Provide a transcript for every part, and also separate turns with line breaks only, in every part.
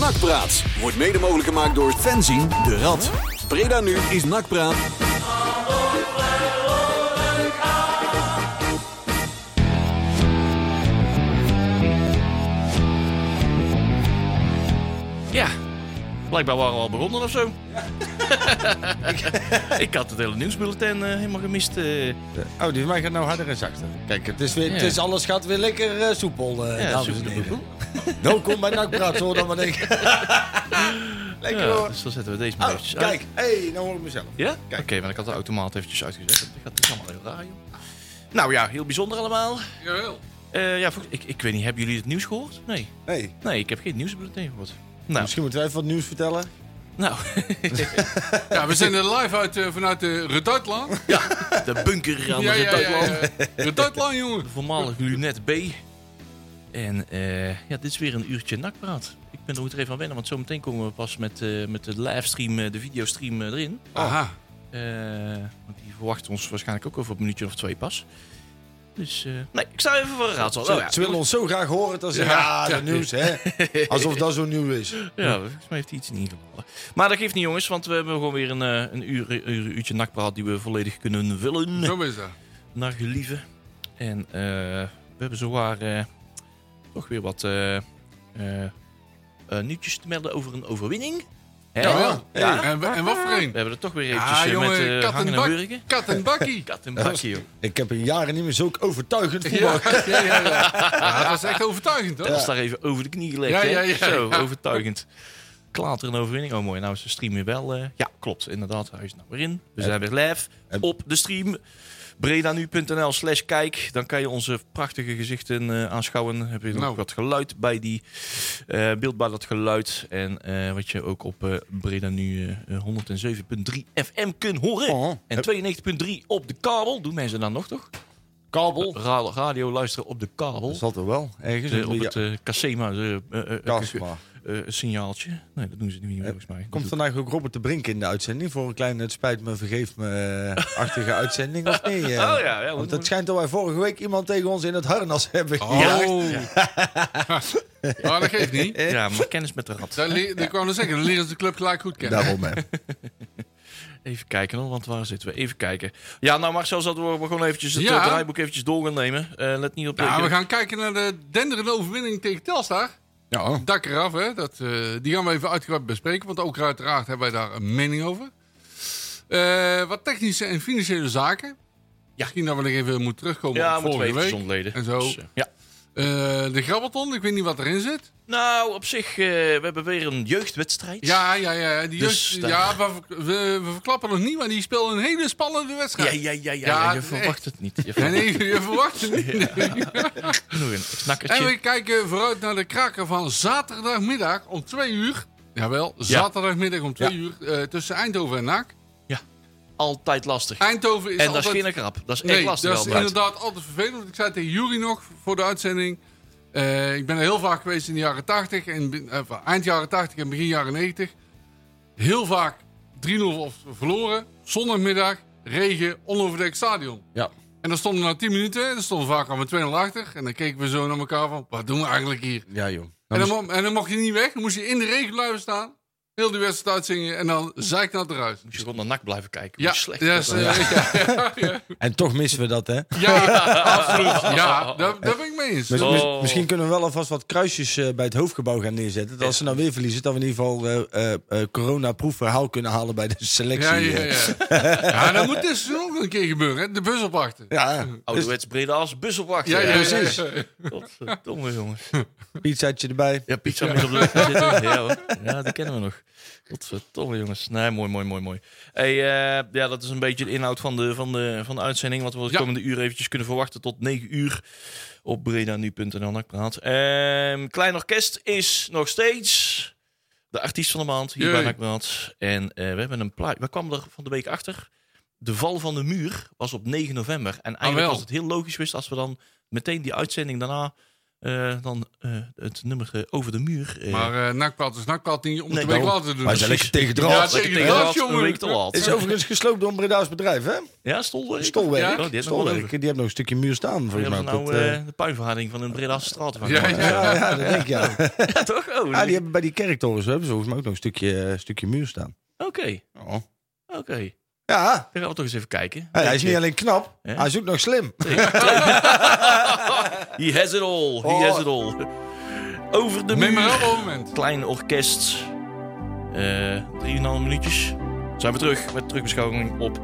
Nakpraat wordt mede mogelijk gemaakt door Fenzin de Rad. Breda nu is Nakpraat.
Ja, blijkbaar waren we al begonnen of zo. ik, ik had het hele nieuwsbulletin eh, helemaal gemist. eh.
Oh, die van mij gaat nou harder en zachter. Kijk, het is weer, het
Ja.
is alles gaat weer lekker eh, soepel, eh
Ja,
dames en
soepel.
heren. Welkom bij Nakpraat, zo dan maar denken. lekker
ja,
hoor.
Dus dan zetten we deze maar
Oh,
eventjes uit.
kijk, hey, nou hoor ik mezelf.
Ja? Oké, maar ik had de automaat eventjes uitgezet. Dat gaat dat is allemaal heel raar, joh. Nou ja, heel bijzonder allemaal.
Jawel.
Eh, ja, volgens- ik, ik weet niet, hebben jullie het nieuws gehoord? Nee.
Hey,
Nee, ik heb geen nieuwsbulletin gehoord. Nou,
misschien moeten wij even wat nieuws vertellen.
nou
Ja, we zijn er live uit, eh, vanuit de Reduitlaan.
de bunker aan de
ja, ja, ja,
Duitsland.
ja. Reduitlaan, jongen.
Voormalig Lunet B. En eh, ja, dit is weer een uurtje nakpraat. Ik ben er moet er even aan wennen, want zometeen komen we pas met, eh, met de livestream, eh, de videostream eh, erin.
Aha.
Eh, want die verwacht ons waarschijnlijk ook over een minuutje of twee pas. Dus eh, nee, ik sta even voor een raadsel.
Ze,
Oh, ja.
ze willen ons zo graag horen dat ze...
Ja,
Ja, dat
ja.
nieuws, hè. Alsof dat zo nieuw is.
Ja, volgens mij heeft hij iets in ieder geval. Maar dat geeft niet, jongens, want we hebben gewoon weer een, eh, een uur, uur- uurtje nakpraat die we volledig kunnen vullen.
Zo is dat.
Naar gelieve. En eh, we hebben zowaar eh, toch weer wat eh, eh, eh, nieuwtjes te melden over een overwinning. Hè?
Jawel.
Ja.
En, en wat voor
We
een?
hebben er toch weer eventjes
Ja,
eh,
jongen,
met eh,
kat, en
hangen en
bak,
wurgen.
kat en bakkie.
Kat en bakje, joh.
Ik heb in jaren niet meer zulk overtuigend voetbal.
Ja, ja, ja, ja. Ja, dat was echt overtuigend, hoor.
Dat was daar even over de knie gelegd,
Ja,
hè?
ja, ja,
Zo,
ja.
overtuigend. Klater een overwinning. Oh, mooi. Nou is de stream weer wel... eh, ja, klopt. Inderdaad. Hij is nou weer in. We zijn weer live
En-
op de stream. bredanu.nl slash kijk. Dan kan je onze prachtige gezichten eh, aanschouwen. Heb je nog
Nou.
wat geluid bij die... eh beeld bij dat geluid. En eh, wat je ook op eh Bredanu eh, 107.3 FM kunt horen.
Oh.
En 92.3 op de kabel. Doen mensen dan nog, toch?
Kabel.
Ra- Radio luisteren op de kabel.
Dat zal toch wel? Ergens
Eh, op
ja,
het eh Casema eh, eh, eh,
Kasma.
eh, eh, signaaltje. Nee, dat doen ze nu niet meer, volgens mij.
Eh, Komt
dat
vandaag ook Robert de Brink in de uitzending voor een kleine het spijt me, vergeef me-achtige uitzending of nee? eh?
Oh ja, ja.
Want het schijnt dat wij vorige week iemand tegen ons in het harnas hebben
Oh.
gejaagd.
Ja. dat geeft niet.
ja, maar kennis met de rat.
Dat, le- dat kwam er zeggen. Dan leren ze de club gelijk goed kennen.
Daarom, hè.
Even kijken hoor, want waar zitten we? Even kijken. Ja, nou Marcel, zal we gewoon eventjes het
Ja.
eh, draaiboek eventjes door gaan nemen. Eh, let niet op...
Nou,
ik-
we gaan kijken naar de denderende overwinning tegen Telstar.
Ja.
Dak eraf, hè. Dat, eh, die gaan we even uitgebreid bespreken. Want ook uiteraard hebben wij daar een mening over. Eh, wat technische en financiële zaken. Misschien dat we nog even moeten terugkomen
Ja,
op
moeten we
vorige
even
week.
gezond leden.
En zo.
Dus, eh, ja.
Eh, de grabbelton, ik weet niet wat erin zit.
Nou, op zich, eh, we hebben weer een jeugdwedstrijd.
Ja, ja, ja. ja, Die
Dus
jeugd-
daar-
ja we, we, we verklappen nog niet, maar die speelt een hele spannende
Ja, ja,
wedstrijd.
ja, ja, ja,
Ja,
je
nee.
verwacht het niet. Je
Nee,
verwacht
nee, je verwacht het niet.
nog een
En we
snakkertje.
kijken vooruit naar de kraker van zaterdagmiddag om twee uur. Jawel, zaterdagmiddag om twee uur eh, tussen Eindhoven en NAC.
Altijd lastig.
Eindhoven is
en dat
altijd...
is geen grap. Dat is echt
Nee, dat
lastig
is
Albert.
inderdaad altijd vervelend. Ik zei tegen Jury nog voor de uitzending. eh, ik ben er heel vaak geweest in de jaren 80, en, be- eh, van eind jaren 80 en begin jaren 90. Heel vaak 3-0 of verloren. Zondagmiddag, regen, onoverdekt stadion.
Ja.
En dan stonden we na 10 minuten, en dan stonden we vaak al met 2-0 achter. En dan keken we zo naar elkaar van, wat doen we eigenlijk hier?
Ja, joh. Nou,
En dan, mo- en dan mocht je niet weg, dan moest je in de regen blijven staan. Heel die wedstrijd uitzingen en dan zeikt dat eruit.
Moet je gewoon naar nak blijven kijken.
Ja,
Hoe slecht
ja, eh,
dat
ze-
is.
ja, ja,
En toch missen we dat, hè?
ja, absoluut. Ja, daar, daar ben ik mee eens.
Mis-
Oh.
mis- misschien kunnen we wel alvast wat kruisjes eh, bij het hoofdgebouw gaan neerzetten. Dat als ze nou weer verliezen, dat we in ieder geval eh eh eh, coronaproef verhaal kunnen halen bij de selectie.
Ja, ja,
eh.
ja. ja, dat moet dit seizoen ook nog een keer gebeuren. Hè? De bus opwachten.
Ja, dus
Ouderwets brede als bus opwachten.
Ja, ja, ja,
precies.
ja.
Godverdomme, jongens.
pizzaatje erbij.
Ja, pizza moet op de weg gaan zitten. Ja, hoor. ja, die kennen we nog. Godverdomme, jongens. Nee, mooi, mooi, mooi, mooi. Hey, eh, ja, dat is een beetje de inhoud van de, van de, van de uitzending. Wat we de
Ja.
komende uur eventjes kunnen verwachten tot 9 uur op bredanu.nl. Nou, ik praat. Ehm, Klein Orkest is nog steeds de artiest van de maand hier bij
Jee.
Nakbrand. En eh, we hebben een plaat. We kwamen er van de week achter. De val van de muur was op 9 november. En eigenlijk
Ah, wel.
was het heel logisch wist als we dan meteen die uitzending daarna eh, dan eh, het nummer eh, Over de Muur. eh,
Maar eh nakpad is nakpad niet om
Nee,
twee
daarom.
laten doen.
Maar ze lekker tegen
Ja,
draad.
tegen
lekker
de draad,
de draad,
jongen.
Een week te laat.
is overigens gesloopt door een Breda's bedrijf, hè?
Ja, Stolwerk.
Stolwerk.
Oh, die heeft nog wel
Stolwerk,
over.
die hebben nog een stukje muur staan,
Die
volgens mij.
hebben nou
Dat, eh,
eh, de puinverharding van een Breda's straat.
Ja, ja.
ja, ja, dat denk ik, ja.
Ja, toch? Oh,
Ja, Ah, die hebben bij die kerktorens hebben ze volgens mij ook nog een stukje, eh, stukje muur staan.
Oké,
Ja,
oké.
ja
Dan gaan we toch eens even kijken.
hij, hij is niet alleen knap,
Ja.
hij is ook nog slim.
He has it all. He
Oh.
has it all. Over de muur.
Memorabel moment.
Klein orkest. Eh, Drieënhalf minuutjes. Zijn we terug met terugbeschouwing op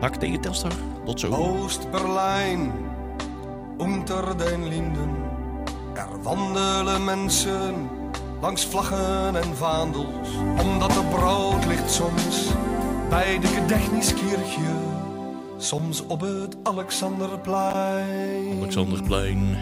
Hak tegen Telstar. Tot zo.
Oost-Berlijn, unter den Linden. Er wandelen mensen langs vlaggen en vaandels. Omdat er brood ligt soms bij de Gedächtniskirche. Soms op het Alexanderplein.
Alexanderplein.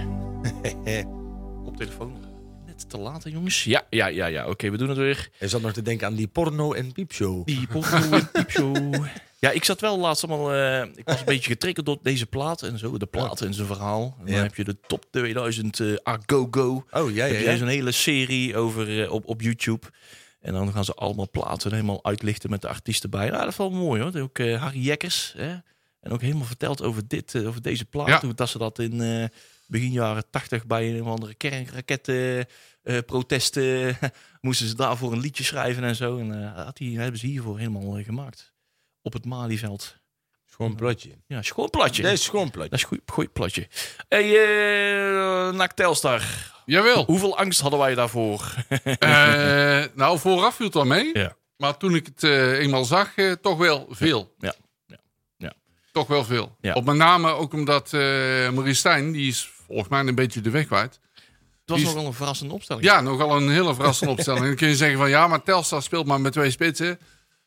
op telefoon. Net te laat, hè, jongens. Ja, ja, ja, ja. Oké, we doen het weer.
Hij zat nog te denken aan die porno- en piepshow.
Die Poffo en Piepshow. Ja, ik zat wel laatst allemaal... eh, ik was een beetje getriggerd door deze plaat en zo. De plaat en zijn verhaal. En dan
Ja.
heb je de top 2000 eh Agogo.
Oh, ja,
heb je zo'n hele serie over, eh, op, op YouTube. En dan gaan ze allemaal platen helemaal uitlichten met de artiesten bij. Nou, dat valt mooi hoor. Ook eh, Harry Jekkers. Hè? En ook helemaal verteld over, dit, eh, over deze plaat.
Ja.
Hoe dat ze dat in eh, begin jaren tachtig bij een of andere kernrakettenprotesten... moesten ze daarvoor een liedje schrijven en zo. En eh, had die, hebben ze hiervoor helemaal eh, gemaakt. Op het Malieveld.
Schoon platje.
Ja, schoon platje.
Dat
Dat
is schoon platje.
is een gooi platje. Hey, eh Nak Telstar.
Jawel.
Hoeveel angst hadden wij daarvoor?
Eh, nou, vooraf viel het al mee.
Ja.
Maar toen ik het eh, eenmaal zag, eh, toch wel veel.
Ja. Ja. Ja.
Toch wel veel.
Ja.
Op met name ook omdat eh Marie Stijn, die is volgens mij een beetje de weg kwijt.
Het was
Die is-
nogal een verrassende opstelling.
Ja, nogal een hele verrassende opstelling. Dan kun je zeggen van ja, maar Telstar speelt maar met twee spitsen.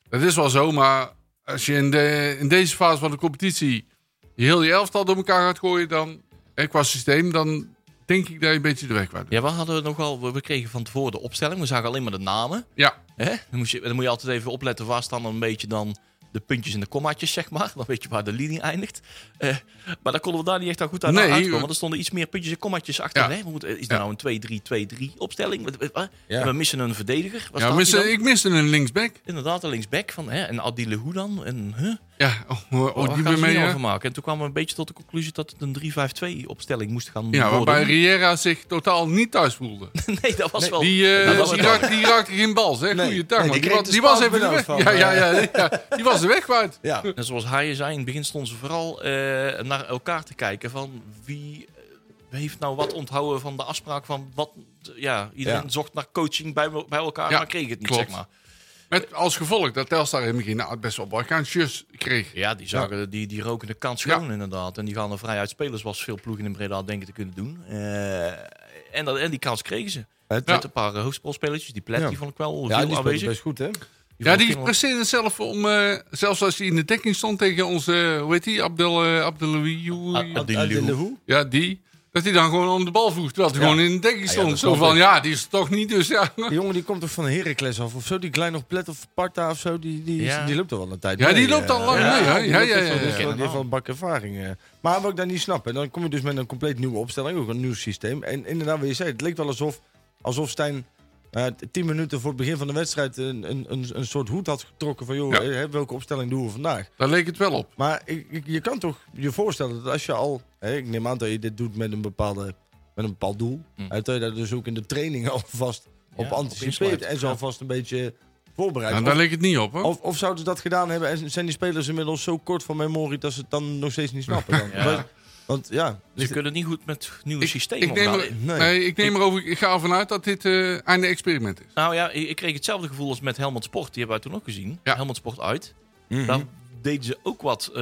Dat is wel zo, maar als je in, de, in deze fase van de competitie heel je elftal door elkaar gaat gooien, dan eh, qua systeem, dan denk ik dat je een beetje de weg kwijt bent.
Ja, we hadden nogal, we- we kregen van tevoren de opstelling. We zagen alleen maar de namen.
Ja,
Hè? Dan, moest je, dan moet je altijd even opletten waar staan dan een beetje dan de puntjes en de kommaatjes, zeg maar. Dan weet je waar de linie eindigt. Eh, maar daar konden we daar niet echt al goed aan
Nee,
uitkomen.
we-
Want er stonden iets meer puntjes en kommaatjes achter.
Ja.
Hè? We moeten, is dat
Ja.
nou een 2-3-2-3 opstelling? Wat- wat- wat?
Ja.
We missen een verdediger. Waar
ja
staat
miste-
die dan?
ik miste een linksback.
Inderdaad, een linksback van hè? en Adile Hoe dan? En, huh?
Ja, oh,
Waar
oh, die
gaan
ben
ze hier
mee. hè?
nou van maken? En toen kwamen we een beetje tot de conclusie dat het een 3-5-2 opstelling moest gaan
Ja,
worden.
waarbij Riera zich totaal niet thuis voelde.
Nee, dat was wel...
Die, eh,
Oh. dat was
die,
wel-
raakte, die raakte geen bal, zeg.
Nee,
Goeiedag,
nee,
man.
die
Die,
kreeg
was,
de
die was even de
spaanbenoot
weg.
van,
ja,
eh,
ja, ja, ja, die was de weg kwijt.
Ja.
En zoals hij zei, in het begin stonden ze vooral eh, naar elkaar te kijken van wie eh, heeft nou wat onthouden van de afspraak van wat... Ja, iedereen
Ja.
zocht naar coaching bij, me- bij elkaar,
Ja,
maar kreeg het niet,
klopt.
zeg maar.
Met als gevolg dat Telstar in het begin nou, best wel wat kansjes kreeg.
Ja, die zagen Die, die rokende kant schoon inderdaad. En die gaan er vrij uit spelen, zoals veel ploegen in Breda denken te kunnen doen. Eh, en, dat, en die kans kregen ze.
Het-
Met een paar uh, hoofdspelspelletjes. Die Plet,
Ja.
die vond ik wel
Ja,
veel
die speelt
aanwezig.
best goed, hè?
Ja,
vond ik
die
veel-
presteerde zelf om... eh, zelfs als hij in de dekking stond tegen onze... eh, hoe heet die? Abdel, eh, Abdeloui-
Ah, ah, die
Uit in de
Leeuw.
hoe?
Ja, die. Dat hij dan gewoon om de bal voegt. Terwijl hij
Ja. Ah,
gewoon in de dekking
ja,
stond.
dat
Zo
snap
van,
ik.
ja, die is het toch niet. Dus ja.
Die jongen die komt toch van Heracles af of zo? Die kleine of Plet of Sparta of zo? Die, die,
Ja.
die loopt al wel een tijd
Ja, die
mee,
loopt al
eh.
lang
ja,
mee. hè?
die
Oh, Ja,
loopt
ja,
al zo, die is
ja. ja.
wel- dus. Die heeft wel een bak ervaring. eh. Maar wat ik dan niet snap, en dan kom je dus met een compleet nieuwe opstelling, ook een nieuw systeem. En inderdaad, wat je zei, het leek wel alsof, alsof Stijn eh, t- tien minuten voor het begin van de wedstrijd een, een, een, een soort hoed had getrokken van, joh,
Ja.
eh, welke opstelling doen we vandaag?
Daar leek het wel op.
Maar ik, ik- je kan toch je voorstellen dat als je al, hè, ik neem aan dat je dit doet met een, bepaalde, met een bepaald doel,
Hm.
hè, dat je daar dus ook in de training alvast op
op
anticipeert
insluit.
en zo
Ja.
alvast een beetje voorbereidt.
Nou,
Of-
daar leek het niet op, hoor.
of, of zouden ze dat gedaan hebben en zijn die spelers inmiddels zo kort van memorie dat ze het dan nog steeds niet snappen? Dan?
Ja.
Want, want ja,
Dus-
Ze kunnen niet goed met nieuwe systemen
Ik neem,
omgaan.
er,
Nee.
nee, ik neem erover, ik ga ervan uit dat dit eh einde experiment is.
Nou ja, ik, ik kreeg hetzelfde gevoel als met Helmond Sport. Die hebben wij toen ook gezien.
Ja. Mhm.
Helmond Sport uit. Daar deden ze ook wat. eh,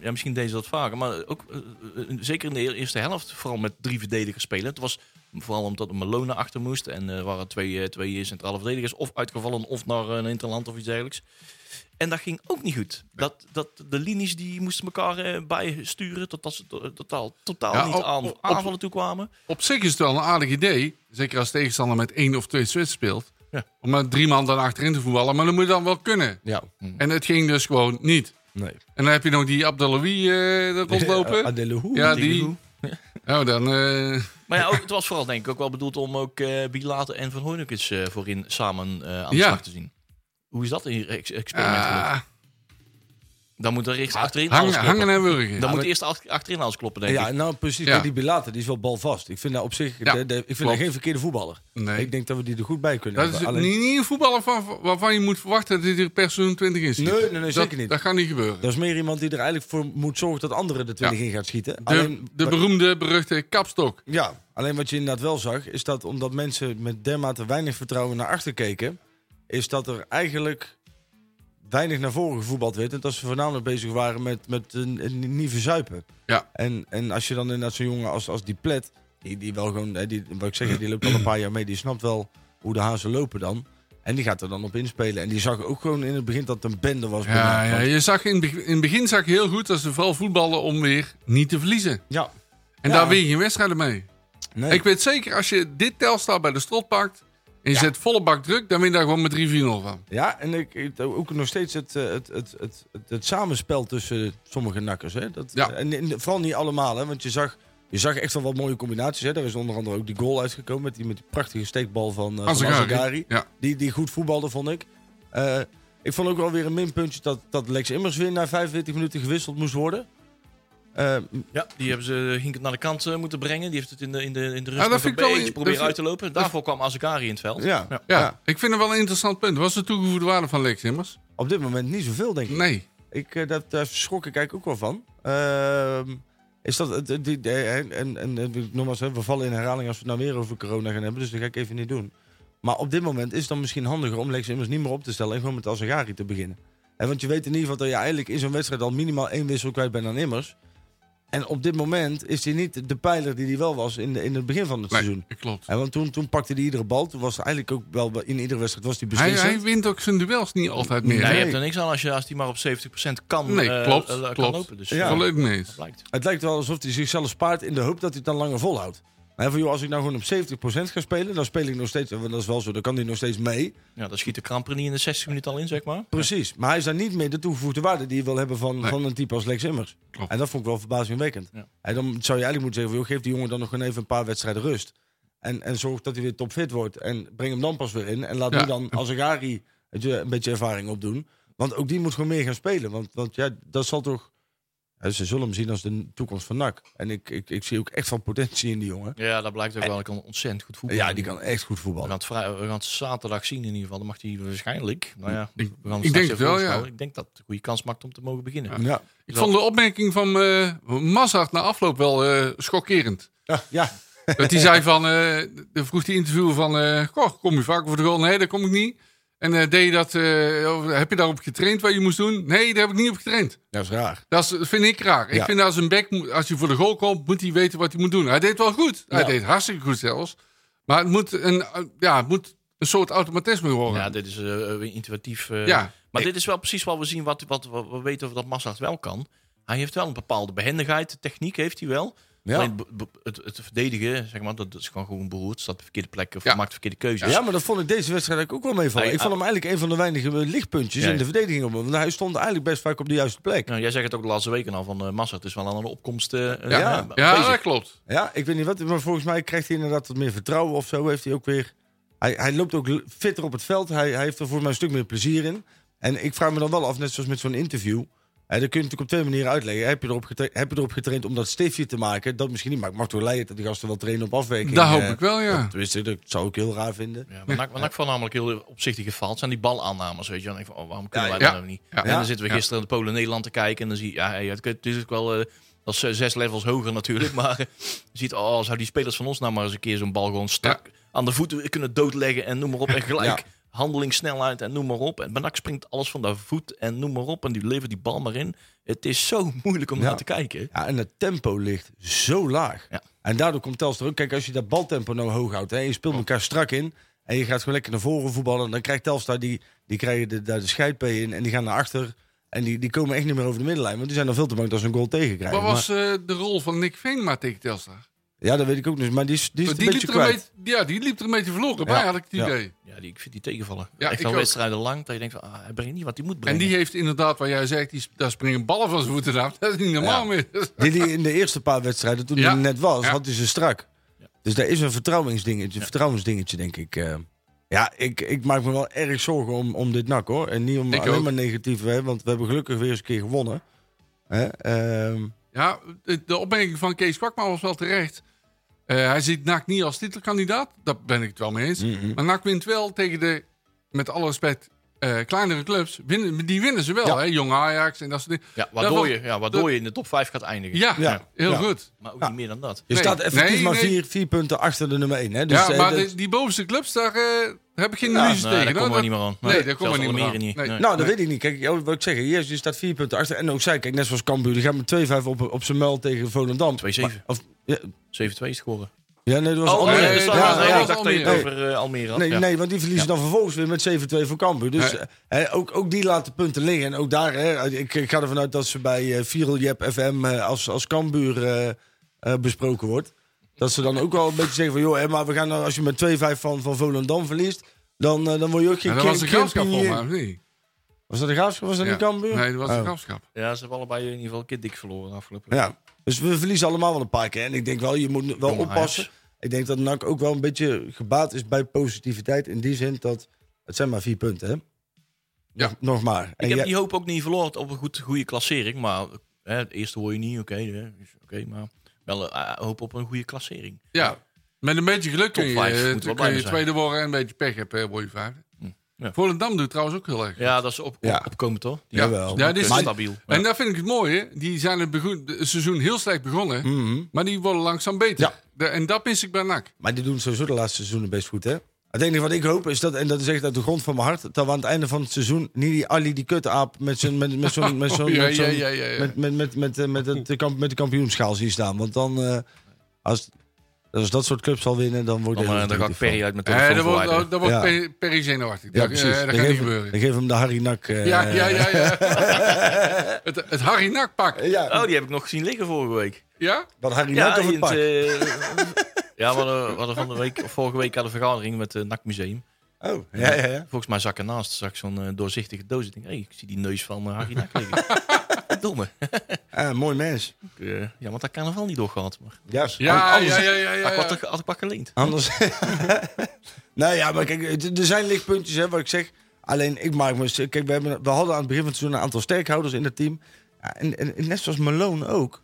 ja, misschien deden ze dat vaker. Maar ook, eh, eh, zeker in de eerste helft, vooral met drie verdedigers spelen. Het was vooral omdat Malone achter moest. En er waren twee, eh, twee centrale verdedigers. Of uitgevallen of naar eh, een interland of iets dergelijks. En dat ging ook niet goed. Dat, dat de linies die moesten elkaar eh, bijsturen. Totdat ze to- totaal, totaal
Ja,
niet
op-
aan,
op- op-
aanvallen toekwamen.
Op zich is het wel een aardig idee, zeker als tegenstander met één of twee spitsen speelt,
Ja.
om met drie man dan achterin te voetballen, maar dat moet je dan wel kunnen.
ja,
En het ging dus gewoon niet.
Mm. nee.
En dan heb je nog die Abdeloui eh dat rondlopen.
Adele Hoe?
Ja,
Ja,
die. Nou, dan... eh,
Maar ja, ook, het was vooral denk ik ook wel bedoeld om ook eh Bilater en Van Hooydonk eens eh, voorin samen eh, aan de
Ja.
slag te zien. Hoe is dat in ex experiment gelukt?
ah,
Dan moet er eerst achterin alles
hangen,
kloppen.
hangen en wurgen.
Dan moet eerst ach- achterin alles kloppen, denk
Ja,
ik.
nou precies.
Ja.
maar Die Bilater, die is wel balvast. Ik vind daar op zich
Ja,
de- de- ik vind
klopt.
daar geen verkeerde voetballer.
Nee.
Ik denk dat we die er goed bij kunnen
Dat is
hebben. Alleen-
niet, niet een voetballer van, waarvan je moet verwachten dat hij er per seizoen 20 in zit.
Nee, nee, nee,
Dat-
zeker niet.
Dat gaat niet gebeuren.
Dat is meer iemand die er eigenlijk voor moet zorgen dat anderen de 20 in gaat schieten.
De,
alleen,
de beroemde, beruchte kapstok.
ja, alleen wat je inderdaad wel zag, is dat omdat mensen met dermate weinig vertrouwen naar achter keken, is dat er eigenlijk weinig naar voren gevoetbald werd. En dat ze voornamelijk bezig waren met, met een, een niet verzuipen.
Ja.
En, en als je dan inderdaad zo'n jongen als, als die Plet, die, die wel gewoon, hè, die, wat ik zeg, die loopt al een paar jaar mee, die snapt wel hoe de hazen lopen dan. En die gaat er dan op inspelen. En die zag ook gewoon in het begin dat het een bende was. bij
Ja,
mij.
ja, je zag in, het beg- in het begin zag je heel goed dat ze vooral voetballen om weer niet te verliezen.
ja.
En
Ja.
daar win je wedstrijden mee.
Nee.
Ik weet zeker, als je dit Telstar bij de strot pakt en je
Ja.
zet volle bak druk, dan win je daar gewoon met 3-4-0 van.
Ja, en ik, ik- ook nog steeds het, eh, het, het, het, het, het samenspel tussen sommige nakkers. Hè? Dat, eh,
Ja.
en, en vooral niet allemaal, hè? want je zag, je zag echt wel wat mooie combinaties. Hè? Daar is onder andere ook die goal uitgekomen met die, met die prachtige steekbal van, eh van
Azagari.
Azagari.
Ja.
Die, die goed voetbalde, vond ik. Eh, ik vond ook wel weer een minpuntje dat, dat Lex Immers weer na 45 minuten gewisseld moest worden. Eh,
Ja, die hebben ze Hinkend naar de kant eh, moeten brengen. Die heeft het in de, in de, in de rust
Ah, dat
nog
vind
een
ik wel-
beetje
dat
proberen
vind-
uit te lopen. Daarvoor kwam Azekari in het veld.
ja,
Ja, ik vind het wel een interessant punt. Wat is de toegevoegde waarde van Lex Immers?
op dit moment niet zoveel, denk ik.
Nee.
Ik, eh, dat, daar schrok ik eigenlijk ook wel van. Ehm, is dat, het- het- die, eh, en, en, en eh, nogmaals, hè, we vallen in herhaling als we het nou weer over corona gaan hebben, dus dat ga ik even niet doen. Maar op dit moment is het dan misschien handiger om Lex immers niet meer op te stellen en gewoon met Azagari te beginnen. En want je weet in ieder geval dat je eigenlijk in zo'n wedstrijd al minimaal één wissel kwijt bent aan immers. En op dit moment is hij niet de pijler die hij wel was in, de, in het begin van het
nee
seizoen.
dat klopt.
En want toen, toen pakte hij iedere bal. Toen was er eigenlijk ook wel in iedere wedstrijd was hij
Hij,
beslissend.
hij wint ook zijn duels niet altijd meer.
Ja,
hè?
je hebt er niks aan als, je, als die maar op 70% kan,
Nee,
eh,
klopt,
eh, kan
klopt.
lopen. Dus
Ja.
ja.
Volledig mee eens.
blijkt.
Het lijkt wel alsof hij zichzelf spaart in de hoop dat hij het dan langer volhoudt. Hij van, joh, als ik nou gewoon op 70% ga spelen, dan speel ik nog steeds. Want dat is wel zo, dan kan hij nog steeds mee.
Ja, dan schiet de kramper niet in de 60 minuten al in, zeg maar.
Precies. Maar hij is daar niet meer de toegevoegde waarde die je wil hebben van,
Nee.
van een type als Lex Immers.
Klopt.
En dat vond ik wel verbazingwekkend.
Ja.
En dan zou je eigenlijk moeten zeggen, van, joh, geef die jongen dan nog gewoon even een paar wedstrijden rust. En, en zorg dat hij weer topfit wordt. En breng hem dan pas weer in. En laat
Ja.
nu dan Azagari weet je, een beetje ervaring opdoen. Want ook die moet gewoon meer gaan spelen. Want, want ja, dat zal toch... ja, ze zullen hem zien als de toekomst van NAC. En ik, ik, ik zie ook echt wel potentie in die jongen.
Ja, dat blijkt ook wel. Hij kan ontzettend goed voetballen.
Ja, die kan echt goed
We gaan,
voetballen.
het vrij, we gaan het zaterdag zien in ieder geval. Dan mag hij waarschijnlijk. Nou ja, we gaan het
ik
straks
denk het
even
wel,
voorstellen.
ja.
Ik denk dat het een goede kans maakt om te mogen beginnen. Ja,
Ja.
Ik vond de opmerking van eh Mazart na afloop wel eh, schokkerend.
Ja, ja.
Dat hij zei van, eh de vroeg die interview van, eh, goh, kom je vaak voor de goal? Nee, daar kom ik niet. En eh, deed je dat, eh, of heb je daarop getraind wat je moest doen? Nee, daar heb ik niet op getraind.
dat Nou, is raar.
Dat, is, dat vind ik raar. Ik
Ja.
vind als een back, moet- als je voor de goal komt, moet hij weten wat hij moet doen. Hij deed wel goed. Hij
Ja.
deed hartstikke goed zelfs. Maar het moet een, eh, ja, het moet een soort automatisme worden. Ja,
dit is eh, weer intuïtief. eh,
Ja.
Maar dit is wel precies wat we zien. Wat, wat, wat we weten of dat Massart wel kan. Hij heeft wel een bepaalde behendigheid. De techniek heeft hij wel.
Ja.
Alleen be- be- het, het verdedigen, zeg maar, dat is gewoon gewoon beroerd. Staat op de verkeerde plek of
Ja.
maakt verkeerde keuzes.
Ja, maar dat vond ik deze wedstrijd eigenlijk ook wel meevallen.
Hij-
Ik vond hem eigenlijk een van de weinige eh, lichtpuntjes
Ja,
in de
ja.
verdediging. op. Want hij stond eigenlijk best vaak op de juiste plek.
Nou, jij zegt het ook de laatste weken al van eh Massart is wel aan de opkomst. eh, eh,
Ja.
eh, bezig.
dat klopt.
Ja, ik weet niet wat. Maar volgens mij krijgt hij inderdaad wat meer vertrouwen of zo. Heeft hij ook weer... Hij, hij loopt ook l- fitter op het veld. Hij, hij heeft er volgens mij een stuk meer plezier in. En ik vraag me dan wel af, net zoals met zo'n interview... Hè, dat kun je natuurlijk op twee manieren uitleggen. Heb je erop, getra- heb je erop getraind om dat stiftje te maken? Dat misschien niet, maar ik mag toch leiden dat die gasten wel trainen op afwerking.
Dat hoop
eh.
ik wel, ja.
Tenminste, dat zou ik heel raar vinden.
Ja, maar NAC, maar NAC voornamelijk heel opzichtig gefaald zijn die balaannames, weet je. Dan denk ik van, oh, waarom kunnen
Ja,
wij
ja.
dat nou niet?
Ja.
En dan zitten we gisteren in de Polen-Nederland te kijken en dan zie je, ja, hey, het het is ook wel, eh, dat is eh, zes levels hoger natuurlijk, maar eh, je ziet, oh, zou die spelers van ons nou maar eens een keer zo'n bal gewoon strak aan de voeten kunnen doodleggen en noem maar op. En gelijk
Ja.
handelingssnelheid en noem maar op. En bij NAC springt alles van de voet en noem maar op en die levert die bal maar in. Het is zo moeilijk om
Ja.
naar te kijken.
Ja, en het tempo ligt zo laag.
Ja.
En daardoor komt Telstar ook. Kijk, als je dat baltempo nou hoog houdt hè, en je speelt elkaar strak in en je gaat gewoon lekker naar voren voetballen, dan krijgt Telstar die, die krijgen de, daar de scheid bij in en die gaan naar achter. En die, die komen echt niet meer over de middenlijn, want die zijn dan veel te bang dat ze een goal tegenkrijgen.
Wat was eh, de rol van Nick Veenma tegen Telstar?
Ja, dat weet ik ook niet. Maar die is, die is
Maar
het
die
een
liep,
beetje
er een
kwijt.
beetje, ja, die liep er een beetje verloren
Ja,
bij, had ik het
ja.
idee.
Ja, die, ik vind die tegenvallen.
Ja,
Echt
ik
al
ook.
wedstrijden lang dat je denkt van, ah, hij brengt niet wat hij moet
En
brengen.
die heeft inderdaad, wat jij zegt, die, daar springen ballen van zijn voeten af. Dat is niet normaal
Ja.
meer.
Die, die in de eerste paar wedstrijden, toen
Ja.
hij net was,
Ja.
had hij ze strak. Dus daar is een vertrouwensdingetje, vertrouwensdingetje denk ik. eh. ja, ik, ik maak me wel erg zorgen om, om dit nak hoor. En niet om
Ik
alleen
ook.
maar negatief, hè, want we hebben gelukkig weer eens een keer gewonnen. Hè? ehm,
Ja, de- de opmerking van Kees Kwakman was wel terecht. Eh, hij ziet NAC niet als titelkandidaat. Daar ben ik het wel mee eens.
Mhm.
Maar NAC wint wel tegen de, met alle respect, eh, kleinere clubs. Winnen, die winnen ze wel,
Ja.
hè? Jong Ajax en dat soort dingen.
ja, waardoor,
Daarvan-
je, ja, waardoor je in de top 5 gaat eindigen.
Ja,
Ja.
heel
Ja.
goed.
Maar ook
Ja.
niet meer dan dat.
je
Nee.
staat effectief
Nee,
maar
nee.
Vier, vier punten achter de nummer één. Hè? Dus,
ja,
eh,
maar
dat-
de- die bovenste clubs, daar eh, heb ik geen
Ja,
illusies
Nee,
tegen.
daar
hoor.
komen we niet meer aan.
Nee, daar komen we
zelfs
niet meer
Almere
aan. Nee.
Nee.
Nou,
Nou, dat weet ik niet. Kijk, ja, wat ik zeg, hier je staat vier punten achter. En ook zij, kijk, net zoals Cambuur, die gaan met 2-5 op, op zijn muil tegen Volendam.
2-7.
Maar- Of, ja,
7-2 scoren.
ja, nee, dat was
Oh,
Almere.
nee,
nee,
dus dat
ja,
was- nee,
ja.
ik dacht dat je het
Nee.
over eh, Almere had.
Nee,
ja.
nee, want die verliezen dan vervolgens weer met 7-2 voor Cambuur. Dus
Ja.
eh, eh, ook, ook die laten punten liggen. En ook daar, hè, ik, ik ga ervan uit dat ze bij eh Vireljep FM eh, als, als Cambuur eh, eh, besproken wordt. Dat ze dan ook wel een beetje zeggen van... joh, hè, maar we gaan dan, als je met 2-5 van, van Volendam verliest... dan, eh, dan word je ook geen
dat was een
geen-
grafschap
geen-
volgens mij, of niet?
Was dat de Graafschap? Was dat
Ja.
niet Cambuur?
Nee, dat was een
Oh.
grafschap.
Ja, ze hebben allebei in ieder geval een keer dik verloren de afgelopen
Ja, dus we verliezen allemaal wel een paar keer. En ik denk wel, je moet wel
Jong Ajax.
oppassen. Ik denk dat NAC ook wel een beetje gebaat is bij positiviteit. In die zin dat, het zijn maar vier punten, hè?
Ja.
Nog, nog maar. En
Ik heb
jij-
die hoop ook niet verloren op een goed, goede klassering. Maar hè, het eerste hoor je niet, oké. hè, is oké, maar wel eh, hoop op een goede klassering.
Ja, met een beetje geluk kun je,
Top vijf, moet
eh,
wel
kun je
blijven zijn. Hm.
tweede worden en een beetje pech hebben, eh, word je vijfde.
ja.
Volendam doet trouwens ook heel erg.
Ja, dat is op, op,
Ja.
opkomend, toch? Die
Ja.
Jawel.
Ja, dit
is
is-
stabiel.
En daar vind ik het mooie. Die zijn het, bego- het seizoen heel slecht begonnen.
Mhm.
Maar die worden langzaam beter.
Ja.
Da- en dat mis ik bij NAC.
Maar die doen sowieso de laatste seizoenen best goed, hè? Het enige wat ik hoop is dat, en dat is echt uit de grond van mijn hart, dat we aan het einde van het seizoen niet die Ali, die kuttaap, met zo'n. met, met zo'n. met zo'n.
Oh, ja,
met zo'n-
ja, ja, ja, ja.
met- met- met- met, eh, met het- de kamp- met de kampioenschaal zien staan. Want dan, eh, als, als dat soort clubs zal winnen, dan wordt
Oh,
Dan,
het
eh, dan ga ik Perry uit mijn telefoon
Eh, dat wordt,
verwijderen.
dat wordt
Ja.
Perry- Perry zenuwachtig.
Ja,
Dat-
precies.
eh,
Dan
dat gaat
geef
niet
hem-
gebeuren.
Dan geef hem de Harry Nak. eh,
ja, ja, ja. ja. het, het Harry Nak pak.
eh, ja.
Oh, die heb ik nog gezien liggen vorige week.
Ja?
Wat Harry
Ja,
Nak over het
in het,
pak.
eh, ja, we hadden, we hadden van de week, of vorige week hadden we een vergadering met het NAC Museum.
Oh, ja, ja, ja.
Volgens mij zak ernaast zag ik zo'n eh, doorzichtige doos. Ik denk, hey, ik zie die neus van eh, Harry Nack liggen. Domme.
Ah, mooi mens.
Eh, ja, want dat carnaval niet doorgehad. Maar
Ja,
Ja,
Anders,
ja, ja, ja, ja,
ik
ja.
had er- had ik pak geleend.
Anders. nou ja, maar kijk, het- er zijn lichtpuntjes, hè, wat ik zeg. Alleen, ik maak me. Kijk, we, hebben, we hadden aan het begin van het seizoen een aantal sterkhouders in het team. Ja, en, en, en net zoals Malone ook.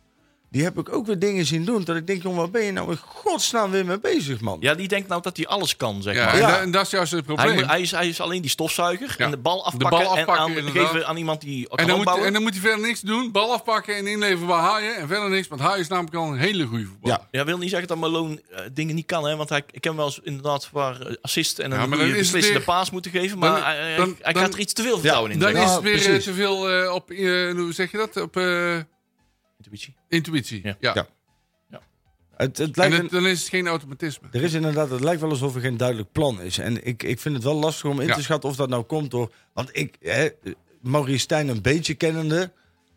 Die heb ik ook weer dingen zien doen. Dat ik denk, jongen, waar ben je nou in godsnaam weer mee bezig, man?
Ja, die denkt nou dat hij alles kan, zeg
Ja,
maar.
en
Ja.
da- En dat is juist het probleem.
Hij, moet- hij, is, hij is alleen die stofzuiger
Ja.
en de bal afpakken,
bal afpakken,
en aan,
inderdaad.
geven aan iemand die kan
En dan, moet,
opbouwen.
en dan moet hij verder niks doen. Bal afpakken en inleveren bij Haaien. En verder niks. Want Haaien is namelijk al een hele goede voetballer.
Ja.
Ja, wil niet zeggen dat Malone eh, dingen niet kan, hè? Want hij, ik ken hem wel eens inderdaad waar eh, assist en
Ja,
een
maar
goede
dan is het
beslissende
weer-
paas moeten geven, maar
dan-
hij, hij-
dan-
hij
dan-
gaat er iets te veel vertrouwen in.
Dan
zeg maar.
is
Ja,
het weer eh,
precies.
te veel eh, op, eh, hoe zeg je dat? Op eh,
Intuïtie.
intuïtie.
Ja.
ja.
Ja. Het, het
En
lijkt
het- dan is het geen automatisme.
Er is inderdaad, het lijkt wel alsof er geen duidelijk plan is. En ik, ik vind het wel lastig om in
Ja.
te schatten of dat nou komt door. Want ik, hè, Maurice Stijn een beetje kennende,